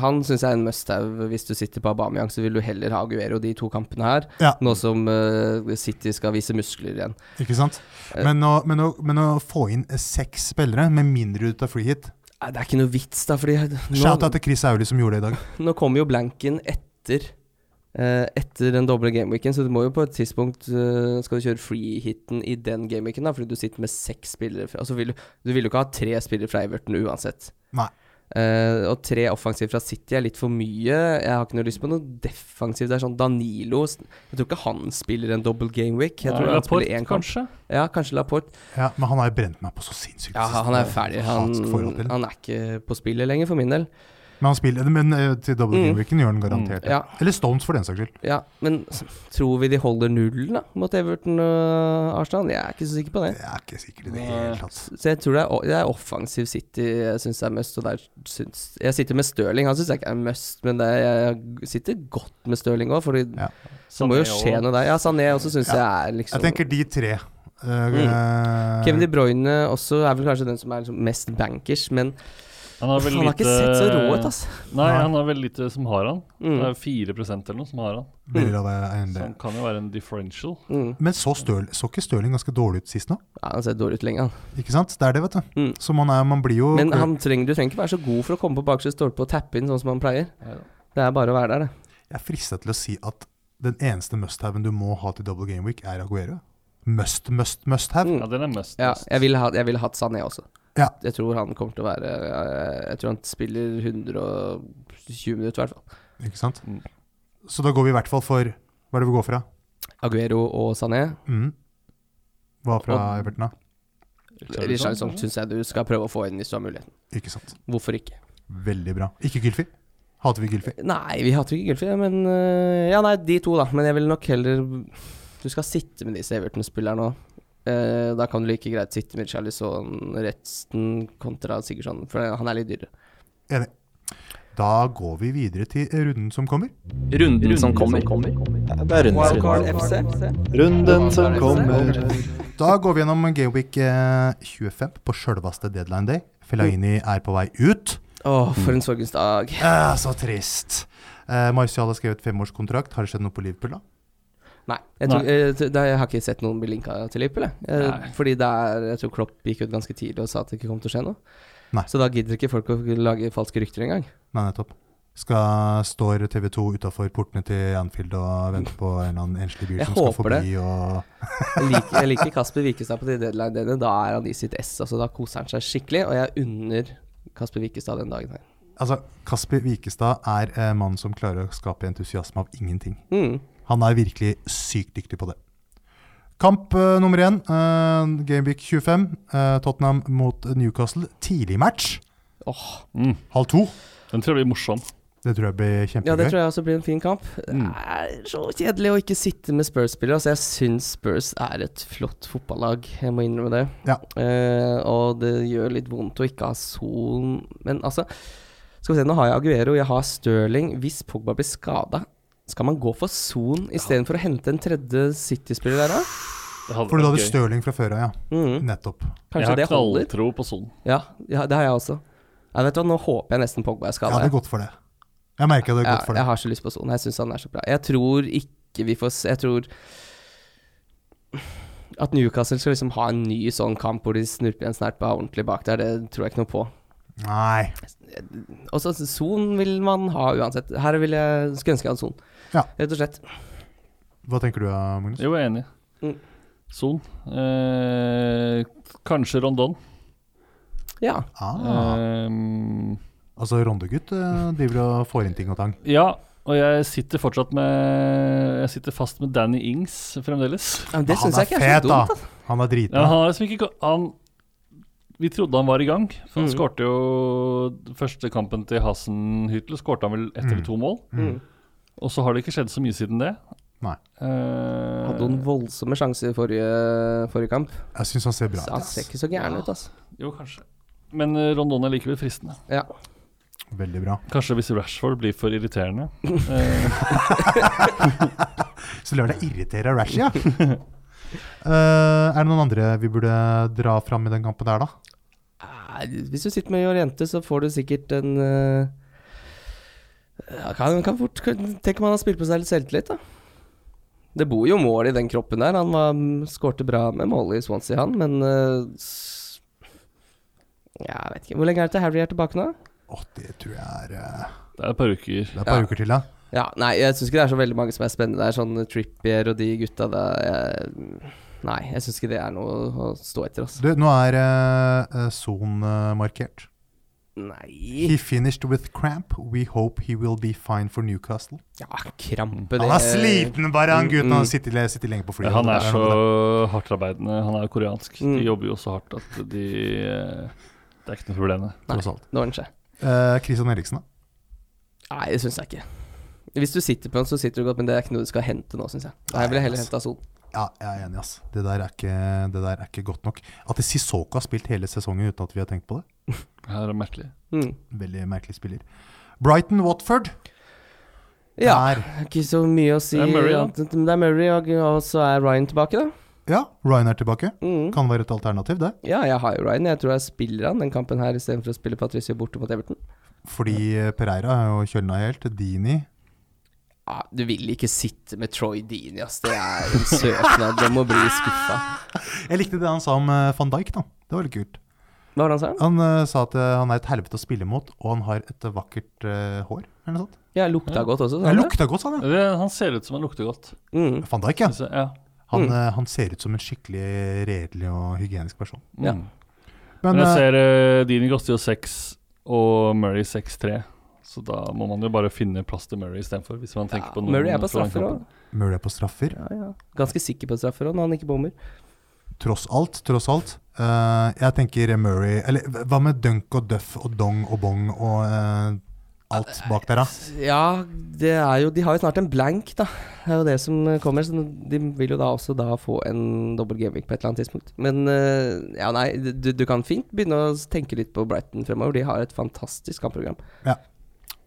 D: han syns jeg er en must-have. Hvis du sitter på Aubameyang, så vil du heller ha Aguero de to kampene her,
C: Ja.
D: nå som eh, City skal vise muskler igjen.
C: Ikke sant?
D: Eh.
C: Men å, men, å, men å få inn eh, seks spillere, med mindre du tar free hit
D: Nei, det er ikke noe vits, da, fordi
C: Shout out
D: nå,
C: til Chris Auli som gjorde det i dag.
D: nå kommer jo blanken etter. eh, etter den doble gameweeken, så du må jo på et tidspunkt eh, Skal du kjøre free-hiten i den gameweeken, da, fordi du sitter med seks spillere fra Altså vil, du- Du vil jo ikke ha tre spillere fra Everton uansett.
C: Nei.
D: Eh, og tre offensive fra City er litt for mye. Jeg har ikke noe lyst på noe defensivt. Det er sånn Danilo s- Jeg tror ikke han spiller en double game week. Jeg
E: Ja,
D: tror han
E: Laporte,
D: spiller én kamp.
E: kanskje?
D: Ja, kanskje Laporte.
C: Ja, men han har jo brent meg på så sinnssykt.
D: Ja, han er ferdig. Han,
C: Hatsk forhold til.
D: han er ikke på spillet lenger, for min del.
C: Men han spiller men eh, til double
D: Mm.
C: game weeken gjør han garantert det.
D: Ja,
C: Eller Stones, for den saks skyld.
D: ja Men s- tror vi de holder nullen da mot Everton og Arsenal? Jeg er ikke så sikker på det.
C: Jeg er ikke sikker i det
E: Nei.
C: hele tatt.
D: Så jeg tror det er, o- det er offensiv City jeg syns er must. Og der syns, jeg sitter med Stirling. Han syns jeg ikke er must, men det, jeg sitter godt med Stirling òg, fordi
C: Ja.
D: Så det må jo
E: Sané
D: skje
E: og-
D: noe der. Ja, Sané også syns
C: Ja.
D: jeg er liksom
C: Jeg tenker de tre. Eh,
D: Mm. Kevin De Bruyne også er vel kanskje den som er liksom mest bankers, men
E: Han har
D: uff,
E: vel
D: han har ikke
E: lite-
D: sett så rå ut, altså.
E: Nei, han har vel lite som har han.
D: Mm.
E: Det er 4 eller noe som har han.
C: blir av en
E: Så
C: del.
E: han kan jo være en differential.
D: Mm.
C: Men så, Støl, så ikke Stirling ganske dårlig ut sist nå?
D: Ja, han ser dårlig ut lenge, han.
C: Ikke sant? Det er det, vet du.
D: Mm.
C: Så man, er, man blir jo
D: Men han trenger, du trenger ikke være så god for å komme på baksida stolpe og tappe inn sånn som han pleier.
E: Neida.
D: Det er bare å være der, det.
C: Jeg er frista til å si at den eneste must-haven du må ha til double game week, er Aguero. Must, must, must-have.
E: Ja, den er must.
D: Mm. Ja,
E: must.
D: jeg ville ha, jeg ville hatt Sané også.
C: Ja.
D: Jeg tror han kommer til å være eh, Jeg tror han spiller 120 minutter, i hvert fall.
C: Ikke sant?
E: Mm.
C: Så da går vi i hvert fall for Hva er det vi går fra?
D: Aguero og Sané.
C: Mm. Hva fra
D: Og-
C: Everton, da?
E: Richarlison,
D: Richarlison
E: kanskje?
D: syns jeg du skal prøve å få inn hvis du har muligheten.
C: Ikke sant.
D: Hvorfor ikke?
C: Veldig bra. Ikke Gylfi? Hater vi Gylfi?
D: Nei, vi hater ikke Gylfi, men øh, Ja, nei, de to, da. Men jeg ville nok heller Du skal sitte med disse Everton-spillerne òg. da kan du like greit sitte med Charlison resten kontra Sigurdsson, for han er litt dyrere.
C: Enig. Da går vi videre til runden som kommer.
F: Runden som kommer.
A: Det er runden sin.
D: Wildcard FC.
F: Runden som kommer.
C: Da går vi gjennom Gameweek eh, 25 på sjølveste deadline day. Fellaini er på vei ut.
D: Å, for en sorgens dag.
C: Eh, så trist. Eh, Martial har skrevet femårskontrakt. Har det skjedd noe på Liverpool, da?
D: Nei. Jeg, tror, eh, t- da, jeg har ikke sett noen bli linka til Liverpool, jeg. Eh,
E: Nei.
D: fordi det er Jeg tror Klopp gikk ut ganske tidlig og sa at det ikke kom til å skje noe.
C: Nei.
D: Så da gidder ikke folk å lage falske rykter engang.
C: Nei, nettopp. Skal Står TV 2 utafor portene til Anfield og venter på en eller annen enslig bil
D: Jeg
C: som skal
D: håper
C: forbi og
D: Jeg liker, jeg liker Kasper Wikestad på de deadline-dagene. Da er han i sitt ess. Altså, da koser han seg skikkelig, og jeg unner Kasper Wikestad den dagen her.
C: Altså, Kasper Wikestad er eh, mannen som klarer å skape entusiasme av ingenting.
D: Mm.
C: Han er virkelig sykt dyktig på det. Kamp eh, nummer én, eh, Gameweek 25. eh, Tottenham mot Newcastle. Tidlig match.
D: Åh,
E: Mm.
C: Halv to.
E: Den tror jeg blir morsom.
C: Det Det tror jeg blir
D: Ja,
C: kjempegøy.
D: det tror jeg også blir en fin kamp.
C: Mm.
D: Det er så kjedelig å ikke sitte med Spurs-spillere. Altså, jeg syns Spurs er et flott fotballag, jeg må innrømme det.
C: Ja.
D: Eh, og det gjør litt vondt å ikke ha Son Men altså, skal vi se, nå har jeg Aguero, jeg har Stirling. Hvis Pogba blir skada, skal man gå for Son istedenfor å hente en tredje City-spiller der, da?
E: Det hadde
C: For du
E: vært
C: hadde
E: gøy.
C: Stirling fra før av, ja.
D: Mm,
C: Nettopp.
E: Jeg
D: kanskje
E: har
D: det holder?
E: knalltro på Son.
D: Ja, ja, det har jeg også. Nei, vet du hva, nå håper jeg nesten Pogba er
C: Jeg
D: skada.
C: hadde gått for det. Jeg merker jeg hadde
D: Ja,
C: gått for det.
D: jeg har så lyst på Son. Jeg syns han er så bra. Jeg tror ikke vi får se Jeg tror at Newcastle skal liksom ha en ny sånn kamp hvor de snurper igjen Snerpa ordentlig bak der, det tror jeg ikke noe på.
C: Nei.
D: Og så Son vil man ha uansett. Her vil jeg skulle ønske jeg hadde Son,
C: Ja.
D: rett og slett.
C: Hva tenker du, eh, Magnus?
E: Jo, jeg er enig.
D: Mm.
E: Son. Eh, kanskje Rondon.
D: Ja.
C: Ah,
E: Eh,
C: altså Rondegutt eh, driver og får inn ting og tang.
E: ja, og jeg sitter fortsatt med Jeg sitter fast med Danny Ings fremdeles.
D: Men det syns jeg ikke er så
C: da.
D: dumt. altså.
C: Han er
E: Ja,
C: drita.
E: han har liksom ikke gå- han, Vi trodde han var i gang. For han
D: Mm.
E: skårte jo første kampen til Hasenhyttel. Skårte han vel ett eller to mål.
D: Da. Mm.
E: Og så har det ikke skjedd så mye siden det.
C: Nei.
E: Eh,
D: Hadde noen voldsomme sjanser i forrige, forrige kamp.
C: Jeg syns han ser bra
D: Så
C: ut.
D: han ser
C: ass.
D: ikke så gæren ut, altså.
E: Jo, kanskje. Men eh, Rondon er likevel fristende.
D: Ja.
C: Veldig bra.
E: Kanskje hvis Rashford blir for irriterende. Eh,
C: Så lar det irritere Rashi, ja. Eh, er det noen andre vi burde dra fram i den kampen der, da?
D: Nei, Ah, Hvis du sitter med Jorente, så får du sikkert en eh, ja, kan, kan fort, kan, Tenk om han har spilt på seg litt selvtillit, da. Det bor jo mål i den kroppen der. Han var, skårte bra med mål i Swansea, han, men eh, s- ja, Jeg vet ikke. Hvor lenge er det til Harry er tilbake nå?
C: Åh, det tror jeg er eh,
E: det er et par uker.
C: Det er et par
D: Ja.
C: uker til, da.
D: Ja, Nei, jeg syns ikke det er så veldig mange som er spennende der. Sånn Trippier og de gutta der jeg, Nei, jeg syns ikke det er noe å stå etter, altså.
C: Du, nå er eh, eh, Son eh, markert.
D: Nei
C: He finished with cramp. We hope he will be fine for Newcastle.
D: Ja, krampe, det
C: Han er sliten, bare han gutten.
D: Mm,
C: Han
D: mm.
C: sitter, le- sitter lenge på flyet.
E: Han er
C: Det
E: så
C: noe med det.
E: hardtarbeidende. Han er jo koreansk.
D: Mm.
E: De jobber jo så hardt at de eh, Det er ikke noe problem. det.
D: Nei,
C: tross alt.
D: det ordner seg.
C: Eh, Christian Eriksen, da?
D: Nei, det syns jeg ikke. Hvis du sitter på den, så sitter du godt, men det er ikke noe du skal hente nå, syns jeg. Nei, jeg ville heller henta Son.
C: Ja, jeg er enig, ass. Det der er ikke, det der er ikke godt nok. At Sissoko har spilt hele sesongen uten at vi har tenkt på det.
E: Det er merkelig.
D: Mm.
C: Veldig merkelig spiller. Brighton Watford.
D: Ja,
C: Der.
D: ikke så mye å si.
E: Det er Murray, da.
D: annet enn- Det er Murray, og, og så er Ryan tilbake, da.
C: Ja, Ryan er tilbake.
D: Mm.
C: Kan være et alternativ, det.
D: Ja, jeg har jo Ryan. Jeg tror jeg spiller han den kampen her istedenfor å spille Patricio borte mot Everton.
C: Fordi eh, Pereira er jo kjølna helt. Dini
D: Ja, du vil ikke sitte med Troy Deany, ass. Det er en søknad om å bli skuffa.
C: Jeg likte det han sa om eh, van Dijk, da. Det var litt kult.
D: Hva var det han sa?
C: Han eh, sa at eh, han er et helvete å spille mot, og han har et eh, vakkert eh, hår. Eller noe sånt.
D: Ja, lukta godt også. sa
C: Det
D: han det?
C: lukta godt, sa han.
E: Det, han ser ut som han lukter godt.
D: Mm.
C: ja. Van Dijk, ja.
E: Så, ja.
C: Han,
D: Mm.
C: eh, han ser ut som en skikkelig redelig og hygienisk person.
E: Mm.
D: Ja.
C: Men
E: Men jeg
C: eh,
E: ser eh, Dini koster jo 6 og Murray 6-3. Så da må man jo bare finne plass til Murray istedenfor. Hvis man tenker
D: Ja,
E: på noen
D: Murray er på
E: fra den
D: straffer
E: kampen.
D: òg.
C: Murray er på straffer.
D: Ja, ja. Ganske sikker på straffer òg, når han ikke bommer.
C: Tross alt, tross alt. Eh, jeg tenker Murray Eller hva med Dunk og Duff og Dong og Bong og eh, alt bak der, da?
D: Ja, det er jo De har jo snart en blank, da. Det er jo det som eh, kommer. Så de vil jo da også da få en dobbel gameweek på et eller annet tidspunkt. Men eh, ja, nei, du, du kan fint begynne å tenke litt på Brighton fremover. De har et fantastisk kampprogram.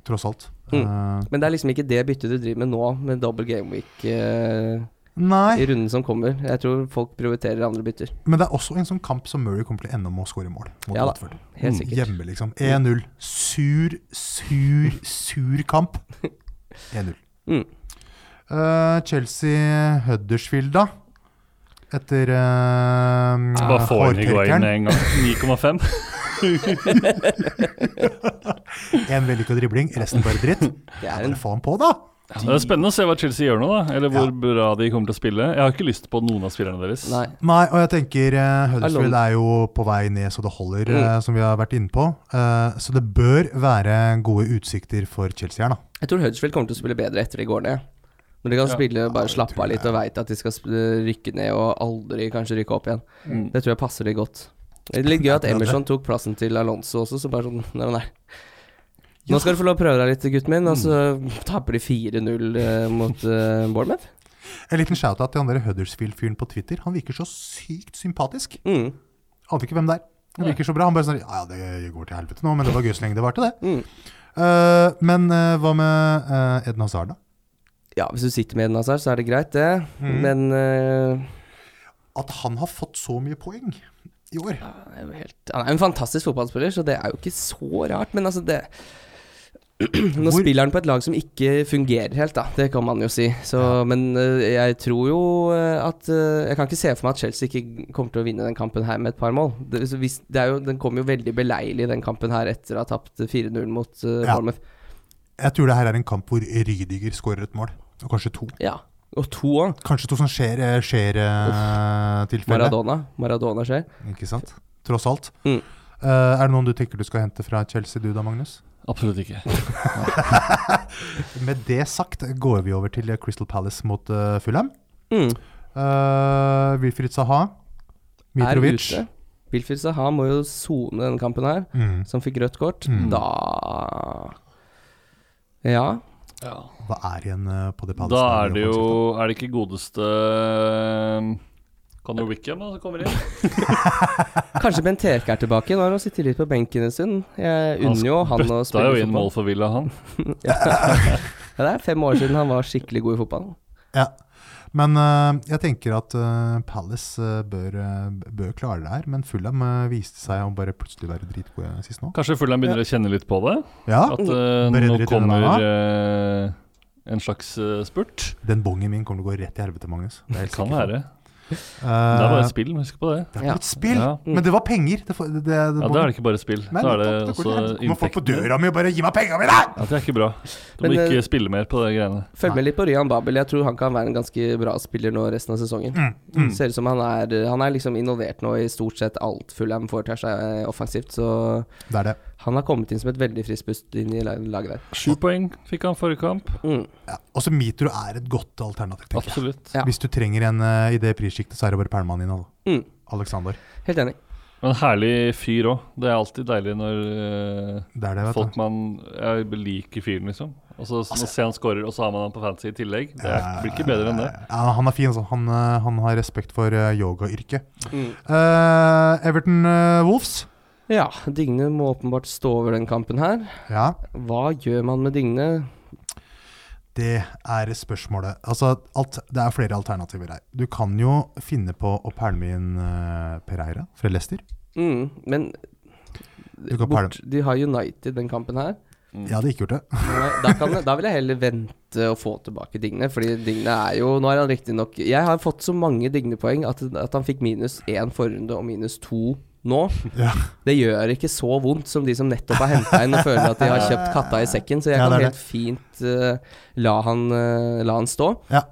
C: Tross alt.
D: Mm.
C: Eh,
D: Men det er liksom ikke det byttet du driver med nå, med dobbel gameweek eh,
C: nei,
D: i runden som kommer. Jeg tror folk prioriterer andre bytter.
C: men det er også en sånn kamp som Murray kommer til å ende med å skåre mål mot
D: Ja da.
C: Watford.
D: Helt
E: Mm,
D: sikkert.
C: Hjemme, liksom. 1-0. Sur, sur, sur kamp. 1-0.
D: Mm.
C: Eh, Chelsea Huddersfield, da. Etter uh,
E: Bare få inn Higuain med en gang. 9,5.
C: Én vellykka dribling, resten bare dritt.
D: Det
C: Ja,
D: er
C: Bare
D: en
C: få han på, da!
E: Det er spennende å se hva Chelsea gjør nå, da. Eller hvor
C: Ja.
E: bra de kommer til å spille. Jeg har ikke lyst på noen av spillerne deres.
D: Nei.
C: Nei, og jeg tenker eh, Huddersfield
D: Alone.
C: er jo på vei ned så det holder,
D: Mm.
C: eh, som vi har vært inne på. Eh, så det bør være gode utsikter for Chelsea her, da.
D: Jeg tror Huddersfield kommer til å spille bedre etter de går ned. Når de kan
E: Ja.
D: spille, bare
C: det
D: slappe
C: tror
D: av litt og veit at de skal sp- eh, rykke ned og aldri kanskje rykke opp igjen.
E: Mm.
D: Det tror jeg passer de godt. Det er litt gøy at
C: Akkurat det.
D: Emerson tok plassen til Alonso også, så bare sånn når han er Nå skal du få lov å prøve deg litt, gutten min. Og så taper de 4-0 eh, mot eh, Bournemouth.
C: En liten shout-out til han der Huddersfield-fyren på Twitter. Han virker så sykt sympatisk.
D: Mm.
C: Aner ikke hvem det er. Han virker så bra. Han bare sånn Ja, ja, det går til helvete nå, men det var gøy så lenge det varte, det.
D: Mm.
C: Eh, men eh, hva med eh, Eden Hazard, da?
D: Ja, hvis du sitter med den, Hazard, så er det greit, det.
C: Mm.
D: Men eh,
C: At han har fått så mye poeng i år.
D: han er jo helt Han er jo en fantastisk fotballspiller, så det er jo ikke så rart. Men altså, det Nå
C: Hvor-
D: spiller han på et lag som ikke fungerer helt, da. Det kan man jo si. Så, Men eh, jeg tror jo eh, at eh, Jeg kan ikke se for meg at Chelsea ikke kommer til å vinne den kampen her med et par mål. Det, så hvis, det er jo, den kom jo veldig beleilig, den kampen her, etter å ha tapt 4-0 mot uh,
C: Ja.
D: Bournemouth.
C: Jeg tror det her er en kamp hvor Rydiger skårer et mål. Og kanskje to.
D: Ja. Og to òg.
C: Kanskje to som skjer, eh, skjer eh, tilfelle.
D: Maradona. Maradona skjer.
C: Ikke sant? Tross alt.
D: Mm.
C: Eh, er det noen du tenker du skal hente fra Chelsea, du da, Magnus?
E: Absolutt ikke.
C: Med det sagt går vi over til eh, Crystal Palace mot eh, Fulham.
D: Mm.
C: Uh, Wilfried Saha. Mitrovic.
D: Er ute. Wilfried Saha må jo sone denne kampen her.
C: Mm.
D: som fikk rødt kort,
C: Mm.
D: da Ja.
E: Ja.
C: Hva er igjen eh, på det Palace?
E: Da er det jo Er det ikke godeste eh, Conor Wickham da, som kommer inn?
D: Kanskje Benteke er tilbake. Nå har han sittet litt på benken en stund. Jeg unner jo han å
E: Det er
D: spille
E: jo inn
D: fotball.
E: mål for Villa, han.
D: Ja, det er fem år siden han var skikkelig god i fotball.
C: Ja. Men eh, jeg tenker at eh, Palace eh, bør, eh, bør klare det her. Men Fulham eh, viste seg å bare plutselig være dritgode sist nå.
E: Kanskje Fulham begynner å kjenne litt på det?
C: Ja,
D: Ah,
E: At eh,
C: Brenner
E: nå
C: litt i
E: kommer
C: denne,
E: eh, en slags eh, spurt?
C: den bongen min kommer til å gå rett i helvete, Magnus. Det er
E: Det
C: helt
E: kan
C: sikkert.
E: være.
C: Eh,
E: Det er bare et spill, husk på det.
C: det er
D: Ja.
C: bare et spill!
E: Ja.
C: Men det var penger. Det, det, det,
E: Ja, Da er det ikke bare spill.
C: Nei,
E: Da er det
C: nettopp,
E: også
C: går til helvete. Kommer folk på
E: inntekter.
C: døra mi og bare 'gi meg penga mine'!
E: Ja, det er ikke bra. Du må
D: Men, eh,
E: ikke spille mer på de greiene.
D: Følg med litt på Ryan Babel. Jeg tror han kan være en ganske bra spiller nå resten av sesongen.
C: Mm,
E: Mm.
D: Ser ut som han er Han er liksom involvert nå i stort sett alt Fulham foretar seg eh, offensivt, så
C: Det er det.
D: han har kommet inn som et veldig friskt pust inn i la- laget der.
E: Sju poeng fikk han forrige kamp.
D: Mm.
C: Ja. Også Mitro er et godt alternativ, tenker jeg.
E: Absolutt.
D: Ja.
C: Hvis du trenger en eh, i det prissjiktet, så er det bare pælmaen din, altså.
D: Mm.
C: Alexander.
D: Helt enig.
E: Men herlig fyr òg. Det er alltid deilig når eh,
C: Det er det, vet
E: folk
C: du.
E: man Jeg liker fyren, liksom. Og så altså, se han scorer, og så har man han på fancy i tillegg. Det er, blir ikke bedre enn det.
C: Ja, han er fin, altså. Han, eh, han har respekt for eh, yogayrket.
D: Mm.
C: Eh, Everton eh, Wolves.
D: Ja, Digne må åpenbart stå over den kampen her.
C: Ja,
D: Hva gjør man med Digne?
C: det er spørsmålet. Altså, alt, det er flere alternativer her. Du kan jo finne på å pælme inn eh, Pereira fra Leicester.
D: Mm, men
C: Du kan
D: bort, de har United den kampen her.
C: Jeg hadde ikke gjort det.
D: Nei, Da, kan, da vil jeg heller vente og få tilbake Digne, fordi Digne er jo Nå er han riktignok Jeg har fått så mange Digne-poeng at, at han fikk minus én forrunde og minus to nå.
C: Ja.
D: Det gjør ikke så vondt som de som nettopp har henta inn og føler at de har kjøpt katta i sekken, så jeg
C: Ja,
D: kan
C: det er
D: helt fint eh, la, han, eh, la han stå.
C: Ja.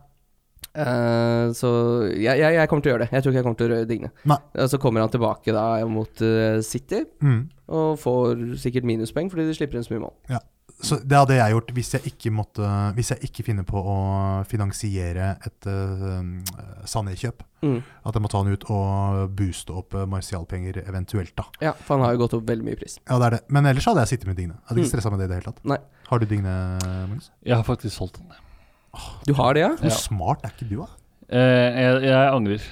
D: Eh, så jeg, jeg, jeg kommer til å gjøre det. Jeg tror ikke jeg kommer til å røre Digne.
C: Nei.
D: Og så kommer han tilbake da mot eh, City.
C: Mm.
D: Og får sikkert minuspoeng fordi de slipper inn så mye mål.
C: Så det hadde jeg gjort hvis jeg ikke, måtte, hvis jeg ikke finner på å finansiere et uh, Sané-kjøp.
D: Mm.
C: At jeg må ta han ut og booste opp eh, Martial-penger eventuelt, da.
D: Ja, for han har jo gått opp veldig mye i pris.
C: Ja, det er det. Men ellers hadde jeg sittet med Digne. Jeg Hadde
D: Mm.
C: ikke stressa med det i det hele tatt.
D: Nei.
C: Har du Digne, Magnus?
E: Jeg har faktisk solgt den.
D: Du har det, ja?
C: Hvor
E: Ja.
C: smart er ikke du, da?
E: Eh, jeg, jeg angrer.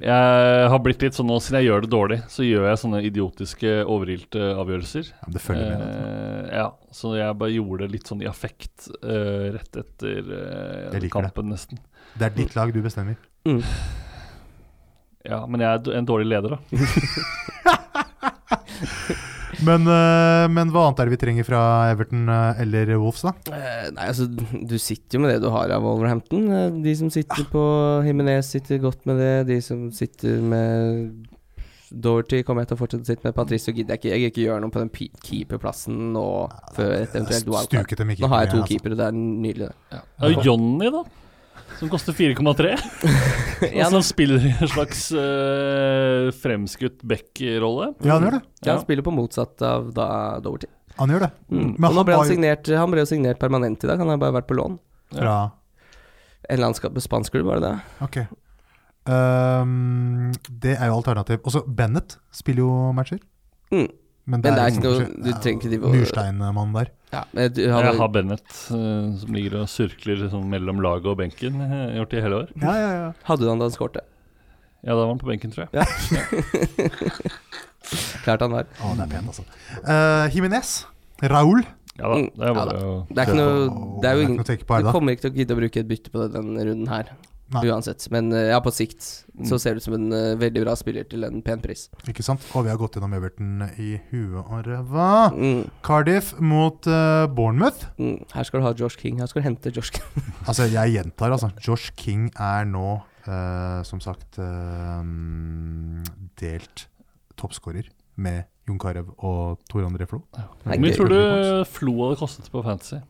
E: jeg har blitt litt sånn nå, siden jeg gjør det dårlig, så gjør jeg sånne idiotiske, overilte avgjørelser.
C: Ja, men det følger med. altså. vet du.
E: Eh, ja, så jeg bare gjorde det litt sånn i affekt eh, rett etter eh,
C: Jeg liker
E: kampen, nesten.
C: Det er ditt lag du bestemmer.
D: Mm.
E: Ja, men jeg er d- en dårlig leder, da.
C: Men, eh, men hva annet er det vi trenger fra Everton eh, eller Wolves, da?
D: Eh, nei, altså, du sitter jo med det du har av Wolverhampton. Eh, De som sitter på Himinez, sitter godt med det. De som sitter med Dorothy kommer jeg til å fortsette å sitte med. Patricio gidder jeg ikke. Jeg gidder ikke gjøre noe på den pe- keeperplassen nå før et eventuelt wildcard.
C: Stuket dem ikke.
D: Nå har jeg to
C: igjen, altså.
D: keepere, det er nydelig. det.
E: Det er jo Johnny, da. Som koster 4,3. Og som spiller i en slags eh, fremskutt back-rolle.
C: Ja, han gjør det.
D: Ja,
E: Ja.
D: Han spiller på motsatt av da Doverty.
C: Han gjør det.
D: Mm.
C: Men
D: Og nå
C: han
D: ble han,
C: var jo-
D: signert, han ble jo signert permanent i dag, han har bare vært på lån.
C: Fra
D: En eller annen ska- spansk klubb, var det det?
C: Ok. Ehm, det er jo alternativ. Også Bennett spiller jo matcher.
D: Mm. Men
C: Men
D: det er ikke noe- du trenger ikke drive og-
C: Mursteinmannen der.
D: Ja, men du
E: Jeg
D: har
E: har Bennett eh, som ligger og surkler sånn mellom laget og benken. eh, Gjort det i hele år.
C: Ja, ja, ja.
D: Hadde du han da han skårte?
E: Ja, da var han på benken, tror jeg.
D: Klart han var.
C: Å, det er pent, altså. Uh, Jimenez. Raul.
E: Ja da,
D: Mm,
E: det er
D: ja
E: bare å-
D: Det er ikke noe Det er jo
C: ikke noe
D: ingen
C: å tenke på her,
D: Du
C: da.
D: kommer ikke til å gidde å bruke et bytte på denne runden her.
C: Nei.
D: Uansett. Men eh, ja, på sikt
E: Mm.
D: så ser det ut som en eh, veldig bra spiller til en pen pris.
C: Ikke sant? Og vi har gått gjennom Everton i huet og ræva.
D: Mm,
C: Cardiff mot eh, Bournemouth.
D: mm. Her skal du ha Josh King. Her skal du hente Josh King.
C: Altså, jeg gjentar, altså. Josh King er nå, eh, som sagt, eh, delt toppskårer med Jon Carew og Tor André Flo.
D: Det er
E: Hvor mye
D: gøy.
E: tror du Flo hadde kostet på Fantasy?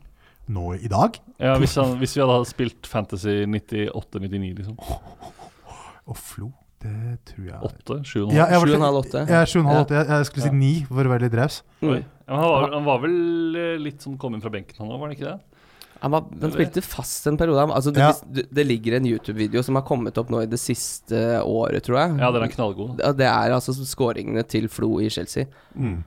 C: Nå i dag.
E: Ja, hvis, han, hvis vi hadde spilt Fantasy 98-99, liksom.
C: Og Flo, det tror jeg
E: 8? 7,5?
C: Ja, jeg var-
D: Sju og en halv, åtte.
C: Jeg er sju og en halv,
D: Ja.
C: åtte. Jeg, jeg skulle si ni, for å være litt raus.
E: Oi.
D: Mm.
E: Ja, men han, var, han var vel eh, litt sånn kommet fra benken, han òg, var han ikke det?
D: Han, var, han spilte fast en periode. Han- Altså, det,
C: Ja.
D: hvis du- det ligger en YouTube-video som har kommet opp nå i det siste året, tror jeg.
E: Ja, den er knallgod. da.
D: Ja, Mm. Det er altså skåringene til Flo i Chelsea.
C: Mm.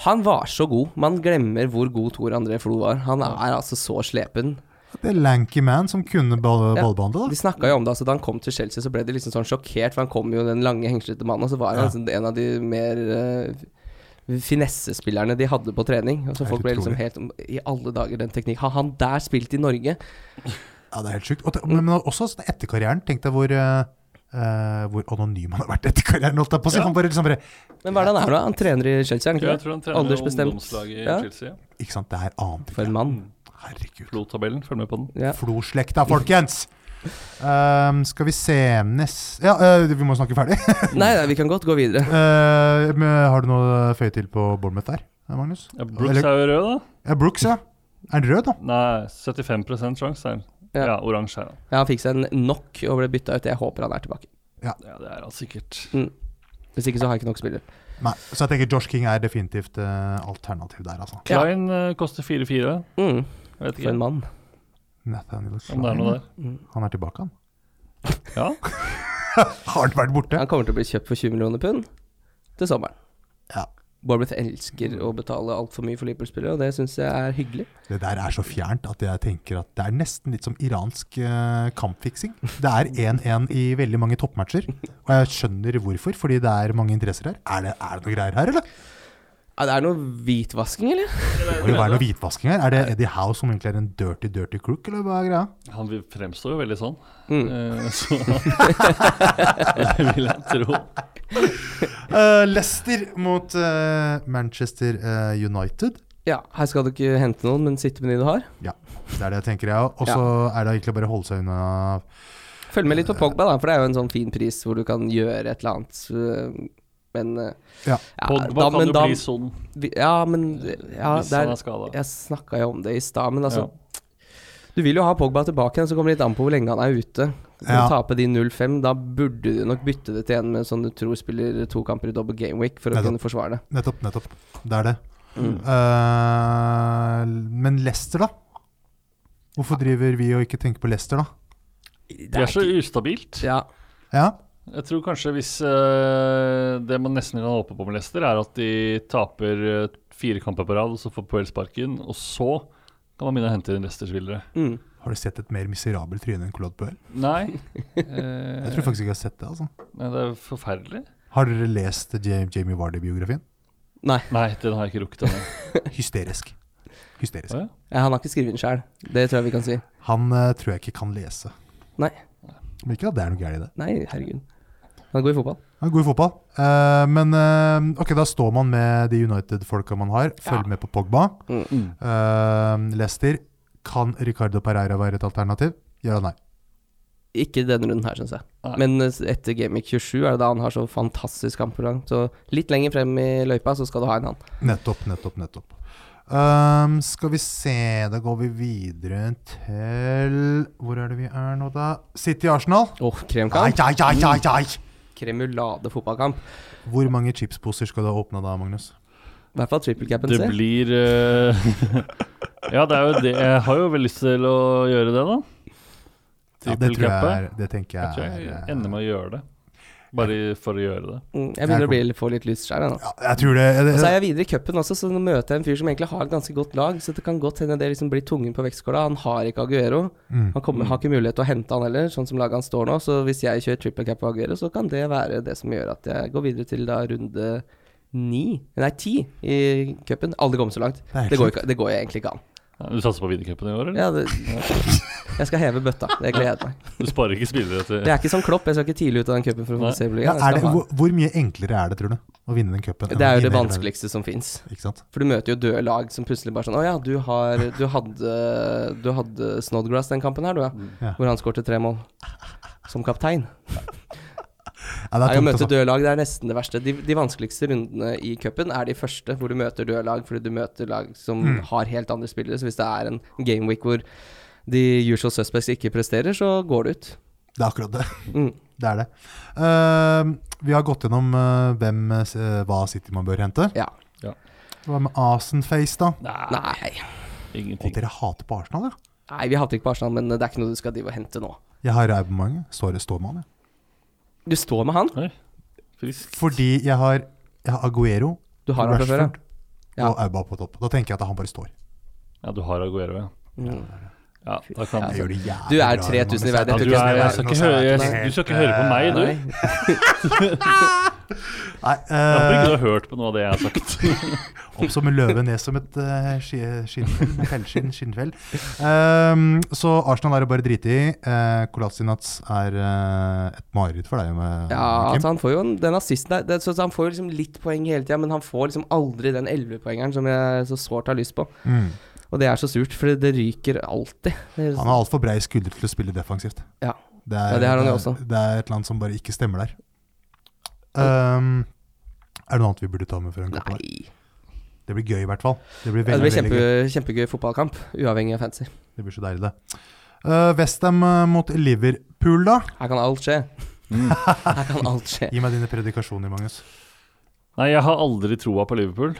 D: Han var så god. Man glemmer hvor god Tor André Flo var. Han er altså så slepen.
C: Det er Lanky Man som kunne ball,
D: Ja.
C: ballbehandle,
D: Vi
C: da.
D: snakka jo om det, altså da han kom til Chelsea så ble de liksom sånn sjokkert, for han kom jo den lange, hengslete mannen, og så var han
C: Ja.
D: altså en av de mer eh, finessespillerne de hadde på trening. Og så
C: Helt
D: folk ble liksom
C: utrolig.
D: helt I alle dager, den teknikken. Har han der spilt i Norge?
C: Ja, det er helt sjukt. Og, te- men, men også sånn etter karrieren. Tenk deg hvor eh, eh, hvor anonym han har vært etter karrieren. Holdt jeg på å si.
E: Ja.
C: Han bare liksom bare
D: Men hva er det han er da? Han trener i Chelsea, er han
E: Ja, Jeg
D: ikke det?
E: tror han trener
D: Aldersbestemt.
E: ungdomslaget i
D: Ja.
E: Chelsea.
C: Ikke sant, det her ante
D: For
C: ikke.
D: en mann.
C: Herregud.
E: Flo-tabellen, følg med på den.
D: Ja.
C: Flo-slekta, folkens! Ehm, skal vi se Ness Ja, eh, vi må snakke ferdig.
D: Nei, nei, vi kan godt gå videre.
C: Eh, men har du noe å føye til på Bournemouth der, Magnus?
E: Ja, Brooks er jo rød, da.
C: Ja, Brooks, ja. Er han rød, da?
E: Nei, 75 sjanse her.
D: Ja.
E: Ja, oransje her. da.
D: Ja, han fikk seg en knock og ble bytta ut. Jeg håper han er tilbake.
E: Ja, det er han sikkert.
D: Hvis ikke så har jeg ikke nok spillere.
C: Nei, så jeg tenker Josh King er definitivt eh, alternativ der, altså.
D: Ja.
E: Klein eh, koster 4-4.
D: Mm,
E: Jeg Vet
D: for
E: ikke
D: en mann.
C: Nathaniel
E: om det er noe
C: Klein.
E: der.
C: Han er tilbake, han.
E: Ja,
C: Har han vært borte?
D: Han kommer til å bli kjøpt for 20 millioner pund til sommeren.
C: Ja.
D: Bournemouth elsker å betale altfor mye for Liverpool-spillere, og det syns jeg er hyggelig.
C: Det der er så fjernt at jeg tenker at det er nesten litt som iransk eh, kampfiksing. Det er 1-1 i veldig mange toppmatcher, og jeg skjønner hvorfor, fordi det er mange interesser her. Er det, er det noe greier her, eller?
D: Ja, det er noe hvitvasking, eller?
C: Det må jo være noe hvitvasking her. Er det Eddie Howe som egentlig er en dirty, dirty crook, eller hva er greia?
E: han vil- fremstår jo veldig sånn.
D: Mm.
E: Eh, så Det vil jeg tro.
C: Eh, Leicester mot eh, Manchester eh, United.
D: Ja, her skal du ikke hente noen, men sitte med de du har.
C: Ja, det er det jeg tenker, jeg òg. Og så er det egentlig bare å holde seg unna
D: Følg med litt på Pogba, da, for det er jo en sånn fin pris hvor du kan gjøre et eller annet. øh, Men øh,
C: Ja.
E: Pogba
D: da-
E: kan
D: men
E: jo
D: da-
E: bli sånn
D: vi- Ja, men ja,
E: hvis
D: det
E: han
D: er,
E: er skada.
D: Jeg snakka jo om det i stad, men altså Du vil jo ha Pogba tilbake igjen, så kommer det litt an på hvor lenge han er ute. Når du
C: Ja.
D: taper de 0-5, da burde du nok bytte det til en med som du tror spiller to kamper i double game week, for å
C: Nettopp.
D: kunne forsvare det.
C: Nettopp, nettopp. Det er det. Eh, men Leicester, da? Hvorfor driver vi og ikke tenker på Leicester, da?
E: Det er så ustabilt.
D: Ja.
C: Ja,
E: Jeg tror kanskje hvis eh, Det man nesten kan håpe på med Leicester, er at de taper eh, fire kamper på rad, og så får Poel sparken, og så kan man begynne å hente inn Leicester-spillere.
D: Mm.
C: Har du sett et mer miserabelt tryne enn Claude Puel?
E: Nei.
C: Jeg
E: eh,
C: tror faktisk ikke jeg har sett det. altså.
E: nei, det er forferdelig.
C: Har dere lest Ja- Jamie Vardy-biografien?
D: Nei,
E: Nei, den har jeg ikke rukket ennå.
C: Hysterisk. Hysterisk.
E: Å, ja.
D: ja, han har ikke skrevet den sjøl. Det tror jeg vi kan si.
C: Han eh, tror jeg ikke kan lese.
D: Nei.
C: Men ikke at det er noe gærent i det.
D: Nei, herregud. Han er god i fotball.
C: Han er god i fotball. Eh, men eh, ok, da står man med de United-folka man har. Følg med på Pogba. Eh, Leicester. Kan Ricardo Pereira være et alternativ? Ja eller nei?
D: Ikke denne runden her, syns jeg.
E: Nei.
D: Men eh, etter Gamic 27 er det da han har så fantastisk kampprogram. Så litt lenger frem i løypa, så skal du ha en han.
C: Nettopp, nettopp, nettopp. Ehm, skal vi se Da går vi videre til Hvor er det vi er nå, da? City Arsenal?
D: Åh,
C: Ai,
D: kremkamp.
C: ai, ai, ai, ai.
D: Kremulade fotballkamp.
C: Hvor mange chipsposer skal du ha åpna da, Magnus?
D: I hvert fall trippelcapen
E: Det
D: sin.
E: blir eh, Ja, det er jo det. Jeg har jo veldig lyst til å gjøre det, da.
C: Ja, det tror jeg
E: Trippelkappe.
C: er Det tenker
E: Jeg tror
C: jeg
E: jeg
C: er eh,
E: ender med å gjøre det. Bare i- for å gjøre det.
D: Mm, Jeg begynner å bli, få litt lyst sjøl, jeg nå.
C: Ja, jeg tror det,
D: Og
C: det,
D: så er jeg videre i cupen også, så nå møter jeg en fyr som egentlig har et ganske godt lag. Så det kan godt hende det liksom blir tungen på vektskåla. Han har ikke Aguero.
C: Mm.
D: Han kommer, har ikke mulighet til å hente han heller, sånn som laget han står nå. Så hvis jeg kjører triple cap på Aguero, så kan det være det som gjør at jeg går videre til da runde ni, nei ti i cupen. Aldri kommet så langt.
C: er helt
D: Det går, ikke, det går jeg egentlig ikke an.
E: Ja, Du satser på vinnercupen i år, eller?
D: Ja, det, jeg skal heve bøtta. Det gleder jeg meg.
E: Du sparer ikke spillere til
D: Det er ikke sånn klopp. Jeg skal ikke tidlig ut av den cupen for å
E: Nei.
D: få se
C: ja,
D: Bulgaria.
C: er
D: Jeg
C: det,
D: skal ha-
C: hvor, hvor mye enklere er det, tror du, å vinne den cupen? enn
D: Det er jo det
C: å vinne hele verden?
D: vanskeligste som fins.
C: Ikke sant?
D: For du møter jo døde lag som plutselig bare sånn Å ja, du, har, du, hadde, du hadde Snodgrass den kampen her, du, ja.
C: Ja.
D: Hvor han skårte tre mål. Som kaptein.
C: Ja, det
D: Nei,
C: er
D: å
C: tungt,
D: møte
C: altså.
D: døde lag det er nesten det verste. De, de vanskeligste rundene i cupen er de første, hvor du møter døde lag fordi du møter lag som har helt andre spillere. Så hvis det er en gameweek hvor de usual suspects ikke presterer, så går det ut.
C: Det er akkurat det.
D: Mm.
C: Det er det. Ehm, vi har gått gjennom eh, hvem, eh, hva City man bør hente.
D: Ja.
C: Hva med Asenface, da?
E: Nei,
D: Nei.
C: Og
E: ingenting.
C: dere hater på Arsenal, ja?
D: Nei, vi hater ikke på Arsenal, men det er ikke noe du skal drive og hente nå.
C: Jeg har Raubemang. Såre Stålmann. Ja.
D: Du står med han.
E: Frisk.
C: Fordi jeg har, jeg har Aguero
D: Du har han fra før, ja.
C: Rashford og Auba på topp. Da tenker jeg at han bare står.
E: Ja, du har Aguero, ja.
D: Mm.
E: Ja, da kan
C: Jeg gjør det jævlig
D: Du er
C: bra,
D: 3000 i
C: Ragnhild.
D: verden,
E: ja,
D: jeg
E: du,
D: tror ikke
E: er, jeg skal ikke høre, jeg, du skal ikke høre på meg, du.
D: Nei.
C: Nei,
E: Jeg håper ikke du
C: eh,
E: har hørt på noe av det jeg har sagt.
C: opp som en løve, ned som et eh, skie- skinnfell. med Fellskinn, skinnfell. Ehm, så Arsenal er det bare å drite i. Uh, Kolasinac er eh, et mareritt for deg. eh, Med,
D: Ja, altså han får jo en, den assisten der det, så, så Han får jo liksom litt poeng hele tida, men han får liksom aldri den 11-poengeren som jeg så sårt har lyst på.
C: Mm.
D: Og det er så surt, for det ryker alltid. Det er,
C: Han har altfor brei skulder til å spille defensivt.
D: Ja.
C: Det er,
D: Ja, det har han jo
C: er-
D: også.
C: Det er et eller annet som bare ikke stemmer der. Ehm, er det noe annet vi burde ta med før en kamp?
D: nei.
C: Det blir gøy, i hvert fall. Det blir,
D: Ja,
C: veldig,
D: det blir
C: veldig
D: kjempe,
C: gøy.
D: kjempegøy fotballkamp, uavhengig av fancy.
C: Det blir så deilig, det. Uh, Westham eh, mot Liverpool, da.
D: Her kan alt skje.
C: Mm.
D: Her kan alt skje.
C: Gi meg dine predikasjoner, Magnus.
E: Nei, jeg har aldri troa på Liverpool.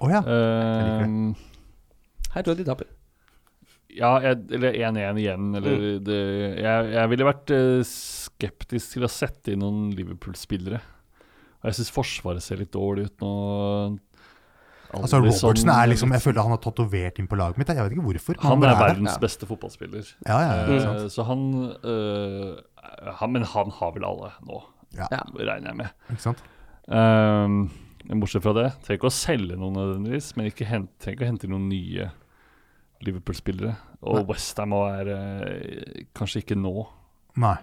C: Å ja.
E: Eh,
D: Her tror jeg de taper.
E: ja, jeg, eller 1-1 igjen, eller det, jeg, jeg ville vært eh, skeptisk til å sette inn noen Liverpool-spillere. Og jeg syns Forsvaret ser litt dårlig ut nå.
C: Altså, Robertsen er liksom Jeg føler han har tatovert inn på laget mitt. Jeg vet ikke hvorfor. men
E: Han
C: bare
E: er verdens
D: Ja.
E: beste fotballspiller.
C: der. Ja, ja, ja,
E: Eh,
C: ikke sant.
E: så han, eh, han Men han har vel alle nå,
C: Ja.
D: Ja.
E: regner jeg med.
C: Ikke sant?
E: Ehm, men bortsett fra det, trenger ikke å selge noen nødvendigvis, men ikke hent, trenger ikke å hente inn noen nye Liverpool-spillere. Og Westham er eh, kanskje ikke nå.
C: Nei.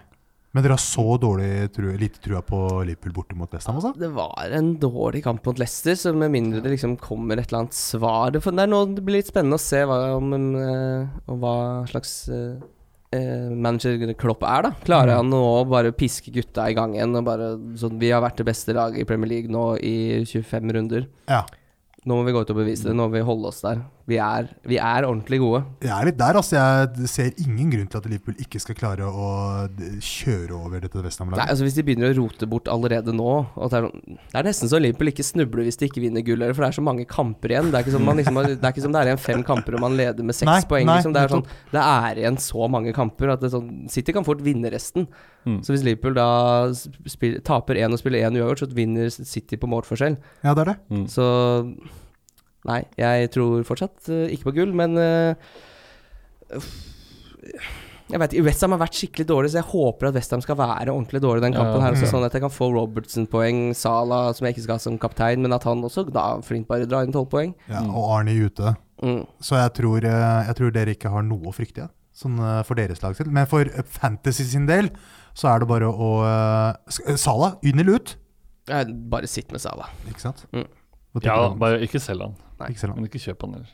C: Men dere har så dårlig tru, lite trua på Liverpool borte mot Westham, altså?
D: Det var en dårlig kamp mot Leicester, så med mindre det liksom kommer et eller annet svar Det, for det er nå det blir litt spennende å se hva, om, en, eh, om hva slags eh, eh, manager Klopp er, da. Klarer han nå å bare piske gutta i gang igjen? Og bare, sånn, vi har vært det beste laget i Premier League nå i 25 runder.
C: Ja.
D: Nå må vi gå ut og bevise det. Nå må vi holde oss der. Vi er, vi er ordentlig gode.
C: Jeg er litt der, altså. Jeg ser ingen grunn til at Liverpool ikke skal klare å d- kjøre over dette
D: Nei,
C: Westham-laget.
D: altså Hvis de begynner å rote bort allerede nå og det, er, sånn- det er nesten så Liverpool ikke snubler hvis de ikke vinner gull, eller, for det er så mange kamper igjen. Det er ikke som, man liksom, har- det er, ikke som det er igjen fem kamper og man leder med seks
C: Nei,
D: poeng.
C: nei,
D: liksom. det, er sånn,
C: nettopp.
D: det er igjen så mange kamper at det er sånn, City kan fort vinne resten.
E: Mm.
D: Så hvis Liverpool da spiller, taper én og spiller én uavgjort, så vinner City på målforskjell.
C: Ja, det er det.
D: Mm. Så nei, jeg tror fortsatt eh, ikke på gull, men eh, jeg vet, ikke, Westham har vært skikkelig dårlig, så jeg håper at Westham skal være ordentlig dårlig den kampen.
E: Ja.
D: her også,
C: Mm.
D: Sånn at jeg kan få Robertson-poeng, Sala, som jeg ikke skal ha som kaptein, men at han også da flink bare drar inn tolv poeng.
C: Ja, og Arnie ute.
D: Mm.
C: Så jeg tror, eh, jeg tror dere ikke har noe å frykte, jeg. Sånn eh, for deres lag selv. Men for eh, Fantasy sin del, så er det bare å eh, sk- eh, Sala, inn eller ut?
D: Jeg bare sitt med Sala.
C: Ikke sant?
D: Mm.
C: Hva tenker
E: Ja,
C: du om-
E: bare ikke selg han,
C: Ikke selv om-
E: men ikke kjøp han heller.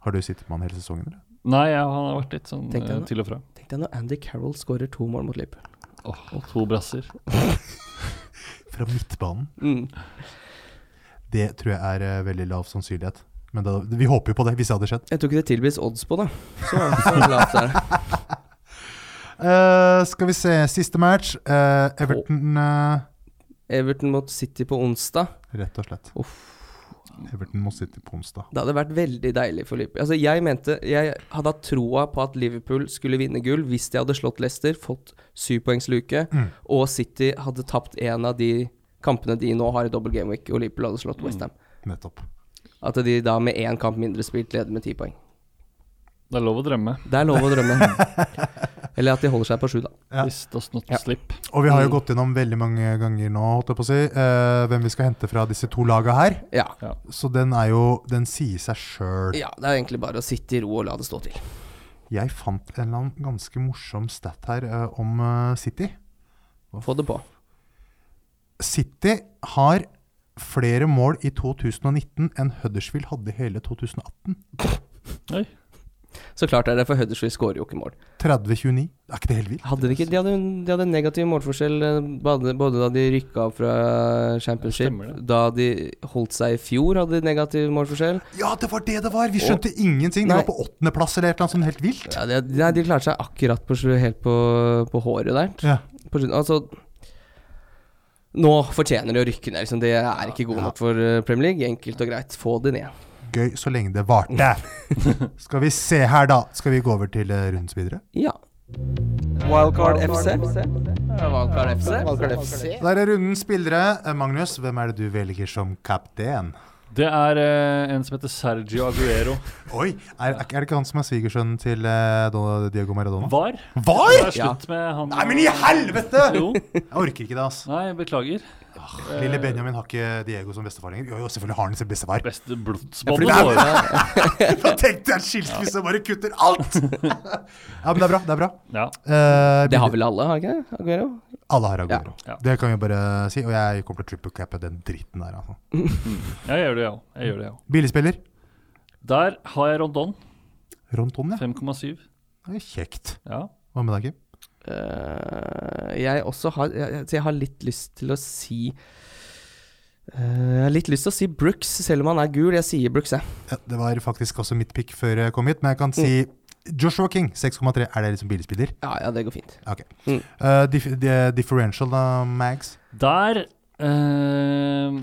C: Har du sittet med han hele sesongen, eller?
E: Nei, ja, han har vært litt sånn
D: Tenkte jeg
E: eh,
D: det.
E: til og fra.
D: Tenk deg når Andy Carroll skårer to mål mot Liverpool.
E: Åh, to brasser.
C: Fra midtbanen.
D: Mm.
C: Det tror jeg er eh, veldig lav sannsynlighet. Men da, vi håper jo på det, hvis det hadde skjedd.
D: Jeg tror ikke det tilbys odds på det. Så, så lavt er det.
C: Eh, skal vi se, siste match. Eh, Everton, eh,
D: Everton mot City på onsdag.
C: rett og slett. Everton mot City på onsdag.
D: Det hadde vært veldig deilig for Liverpool. Altså, jeg mente Jeg hadde hatt troa på at Liverpool skulle vinne gull hvis de hadde slått Leicester, fått syvpoengsluke,
C: Mm.
D: og City hadde tapt en av de kampene de nå har i double game week, og Liverpool hadde slått West Ham.
C: Nettopp.
D: At de da med én kamp mindre spilt leder med ti poeng.
E: Det er lov å drømme.
D: Det er lov å drømme. Eller at de holder seg på sju, da.
C: Ja.
E: This does not
D: Ja.
E: slip.
C: Og vi har jo
D: Mm.
C: gått gjennom veldig mange ganger nå holdt jeg på å si, eh, hvem vi skal hente fra disse to laga her.
D: Ja.
C: Så den er jo Den sier seg sjøl.
D: ja. Det er egentlig bare å sitte i ro og la det stå til.
C: Jeg fant en eller annen ganske morsom stat her eh, om eh, City.
D: Få det på.
C: City har flere mål i 2019 enn Huddersfield hadde i hele 2018.
E: Oi.
D: Så klart er det, for Huddersfield skårer jo ikke mål.
C: 30-29. Er ikke det helt vilt?
D: Hadde de, ikke, de, hadde, de hadde negativ målforskjell eh, både, både da de rykka opp fra championship,
E: Stemmer det.
D: da de holdt seg i fjor, hadde de negativ målforskjell.
C: Ja, det var det det var! Vi skjønte ingenting. De
D: Nei.
C: var på åttendeplass eller et eller annet sånt helt vilt.
D: Ja, de, nei, de klarte seg akkurat på, slu- helt på, på håret der.
C: Ja.
D: På, slutten. altså Nå fortjener de å rykke ned. Liksom. Det er ikke god nok for eh, Premier League. Enkelt og greit, få det ned.
C: Gøy så lenge det varte. Skal vi se her, da. Skal vi gå over til eh, rundens videre?
D: Ja.
B: Wildcard
D: FC.
B: Wildcard FC.
C: Der er rundens spillere. Eh, Magnus, hvem er det du velger som kaptein?
E: Det er eh, en som heter Sergio Aguero.
C: Oi, er, er ikke- er det ikke han som er svigersønnen til eh, Don- Diego Maradona?
E: Var. Det
C: Var?!
E: er slutt med han
C: Nei, men i helvete!
E: Jo.
C: Jeg orker ikke det, ass.
E: Nei, beklager.
C: Lille Benjamin har ikke Diego som bestefar lenger. Jo, jo, selvfølgelig har han sin bestefar.
E: Beste
C: fordi
E: blodsbåndet.
C: det er-
E: våre.
C: Da tenkte jeg en skilsmisse og bare kutter alt! Ja, men det er bra. det er bra.
E: Ja.
C: Eh,
D: Det har vel alle, har ikke det? Aguero?
C: Alle har Aguero.
E: Ja.
C: Det kan vi bare si. Og jeg kommer til å triple cappe den dritten der, altså.
E: Jeg gjør det, jeg òg. Jeg gjør det, jeg òg.
C: Billigspiller?
E: Der har jeg Rondon.
C: Rondon, ja.
E: 5,7.
C: Det er Kjekt.
E: Ja.
C: Hva med deg, Kim?
D: Eh, jeg også har jeg, jeg- så jeg har litt lyst til å si eh, Jeg har litt lyst til å si Brooks, selv om han er gul. Jeg sier Brooks, jeg.
C: Ja, det var faktisk også mitt pick før jeg kom hit, men jeg kan si Joshua King, 6,3. Er det liksom billigspiller?
D: Ja, ja, det går fint.
C: Ok.
D: Mm.
C: Eh, dif di- differential, da, Mags?
E: Der eh,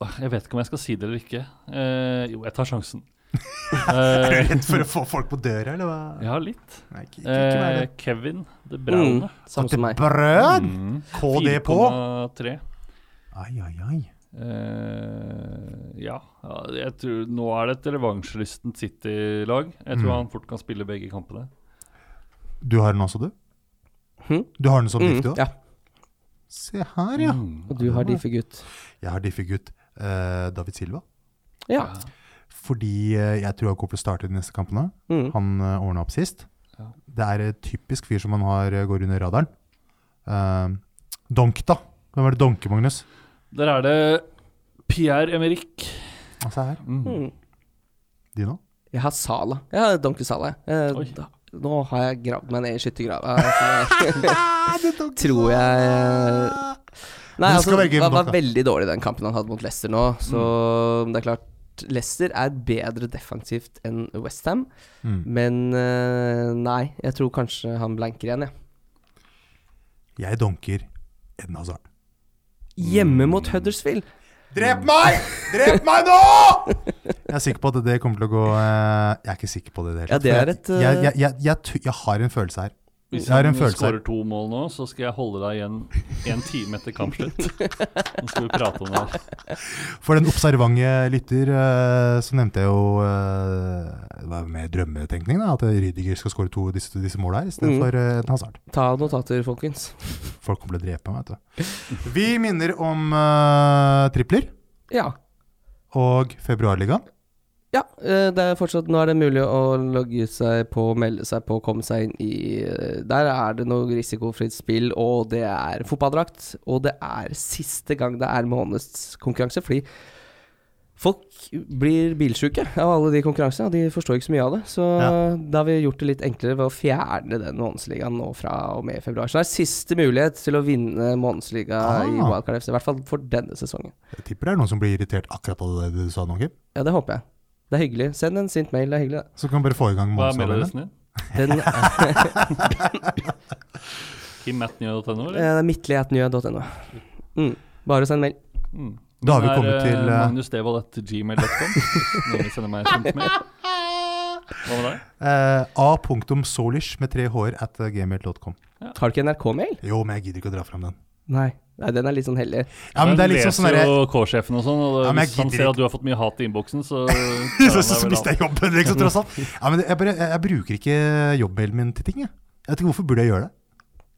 E: åh, Jeg vet ikke om jeg skal si det eller ikke. Eh, jo, jeg tar sjansen. Eh,
C: Rett for å få folk på døra, eller hva?
E: ja, litt.
C: Nei, ikke, ikke, ikke vær
E: Eh,
C: det.
E: Kevin det
D: Mm,
E: braune.
D: samme som meg.
C: Brød!
E: Mm.
C: KD på!
E: 4,3.
C: Ai, ai, ai.
E: Eh, ja. ja jeg tror, nå er det et revansjelystent City-lag. Jeg tror
C: Mm.
E: han fort kan spille begge kampene.
C: Du har den også, du?
D: Hm?
C: Du har den som diff, du
D: Mm,
C: også?
D: ja, Mm.
C: Se her, ja.
E: Mm.
D: og du har Dife gutt.
C: Jeg har diffegutt uh, David Silva.
D: Ja.
C: Fordi eh, jeg tror han kommer til å starte de neste kampene.
D: Mm.
C: Han uh, ordna opp sist.
E: Ja.
C: Det er et typisk fyr som han har, eh, går under radaren. Eh, donk, da. Hvem er det donke, Magnus?
E: Der er det Pierre Emerick.
C: Ja, Se her.
D: Mm.
C: Dino.
D: Jeg har Sala. Jeg har Donkey Sala. jeg. Eh,
E: Oi.
D: da- nå har jeg gravd meg ned i skyttergrava. Ah, Tror jeg
C: eh,
D: Nei,
C: Men du
D: altså,
C: skal velge
D: han var
C: Mbaka.
D: veldig dårlig den kampen han hadde mot Leicester nå. Så
C: Mm.
D: det er klart Leicester er bedre defensivt enn Westham, Ham
C: Mm.
D: men eh, nei, jeg tror kanskje han blanker igjen, jeg.
C: Jeg donker Eden Hazard. Mm.
D: Hjemme mot Huddersfield!
C: Drep meg! Drep meg nå! Jeg er sikker på at det kommer til å gå eh, Jeg er ikke sikker på det i det
D: Ja, det er
C: for
D: et, eh,
C: jeg, jeg, jeg, jeg, jeg, tu- jeg har en følelse her.
E: Hvis
C: Jeg har en
E: han
C: følelse her.
E: skårer to mål nå, så skal jeg holde deg igjen en time etter kampslutt. Nå skal vi prate om det. her.
C: For den observante lytter eh, så nevnte jeg jo eh, Det var med drømmetenkning, da. At Rydiger skal skåre to disse, disse måla her
D: Mm.
C: istedenfor mm. Eden Hazard.
D: Ta notater, folkens.
C: Folk kommer til å drepe meg, vet du. Vi minner om eh, tripler
D: Ja.
C: og februarligaen.
D: Ja, eh, det er fortsatt Nå er det mulig å logge seg på, melde seg på, komme seg inn i eh, Der er det noe risikofritt spill, og det er fotballdrakt. Og det er siste gang det er månedskonkurranse, fordi folk blir bilsjuke av alle de konkurransene, og de forstår ikke så mye av det. Så
C: Ja.
D: da har vi gjort det litt enklere ved å fjerne den månedsligaen nå fra og med februar. Så det er siste mulighet til å vinne månedsliga i
C: Ah.
D: Wildcard FC, i hvert fall for denne sesongen.
C: Jeg tipper det er noen som blir irritert akkurat av det du sa nå, Kim.
D: Ja, det håper jeg. Det er hyggelig. Send en sint mail, det er hyggelig. det.
C: Så kan vi bare få i gang
E: Hva er
C: månedsavdelingen.
E: mailadressen din?
D: Den
E: Kim.matnew.no,
D: Eh,
E: eller?
D: Det er midtligheten gjør.no. Mm. Bare send mail.
E: Mm.
C: Da har vi
E: er,
C: kommet
E: eh,
C: til, eh,
E: magnusdevold.gmail.com. Noen vil sende meg en sint mail. Hva med deg?
C: Eh, A.solish med tre hår at eh, gmail.com.
D: Har du ikke NRK-mail?
C: Jo, men jeg gidder ikke å dra fram den.
D: Nei. Nei, den er litt sånn hellig.
C: Ja, men det er liksom sånn
E: leser
C: derre
E: jo K-sjefen og sånn, og det,
C: Ja, men jeg
E: hvis han
C: gidder
E: ser
C: ikke.
E: at du har fått mye hat i innboksen, så
C: så, så, så mister jeg jobben, liksom, tross alt. Ja, men jeg, bare, jeg, jeg bruker ikke jobbmailen min til ting, jeg. Jeg vet ikke hvorfor burde jeg gjøre det.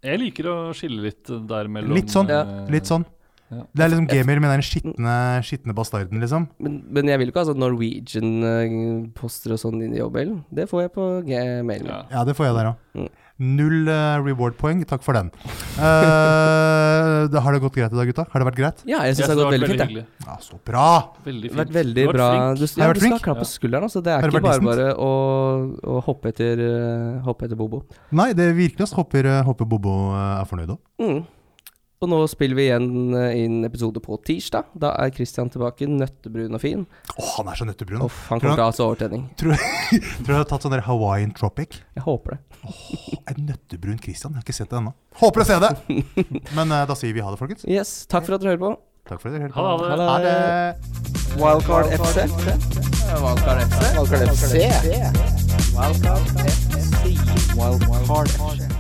E: Jeg liker å skille litt der mellom
C: Litt sånn.
E: eh,
C: Litt sånn.
E: Ja.
C: Det er liksom gmail med den skitne, skitne bastarden, liksom.
D: Men, men jeg vil jo ikke ha sånn Norwegian-poster og sånn inn i jobben. Det får jeg på G-mailen.
E: Ja.
C: Ja, det får jeg der òg.
D: Mm.
C: Null eh, reward-poeng. Takk for den. Eh, da har det gått greit i dag, gutta? Har det vært greit?
D: Ja, jeg
E: Jeg
D: syns det har
E: synes
D: gått veldig
E: vært
D: fint. jeg.
E: hyggelig.
C: Ja, så bra!
D: Det
E: Veldig fint.
D: har vært veldig
E: Du har
D: bra.
E: vært
D: Du,
E: flink.
D: ja,
C: vært
D: du skal ha
C: flink?
D: klapp på skulderen. Altså. Det er
C: Har du
D: ikke bare
C: vært
D: bare å, å hoppe, etter, eh, hoppe etter Bobo.
C: Nei, det virkelig. ass. Håper, eh, håper Bobo eh, er fornøyd òg.
D: Mm. Og nå spiller vi igjen eh, inn episode på tirsdag. Da er Christian tilbake, nøttebrun og fin.
C: Å, han er så nøttebrun.
D: Uff, han kommer til å ha så overtenning.
C: Tror du jeg har tatt sånn der Hawaiian Tropic?
D: Jeg håper det.
C: En nøttebrun Christian. Jeg har ikke sett det ennå. Håper å se det! Men eh, da sier vi ha det, folkens.
D: Yes, takk for at dere hører på.
C: Takk for at dere hørte
E: Ha
C: på.
E: det.
C: Ha det.
B: Wildcard FC. Wildcard FC. Wildcard FC. Wildcard FC. Wildcard FC.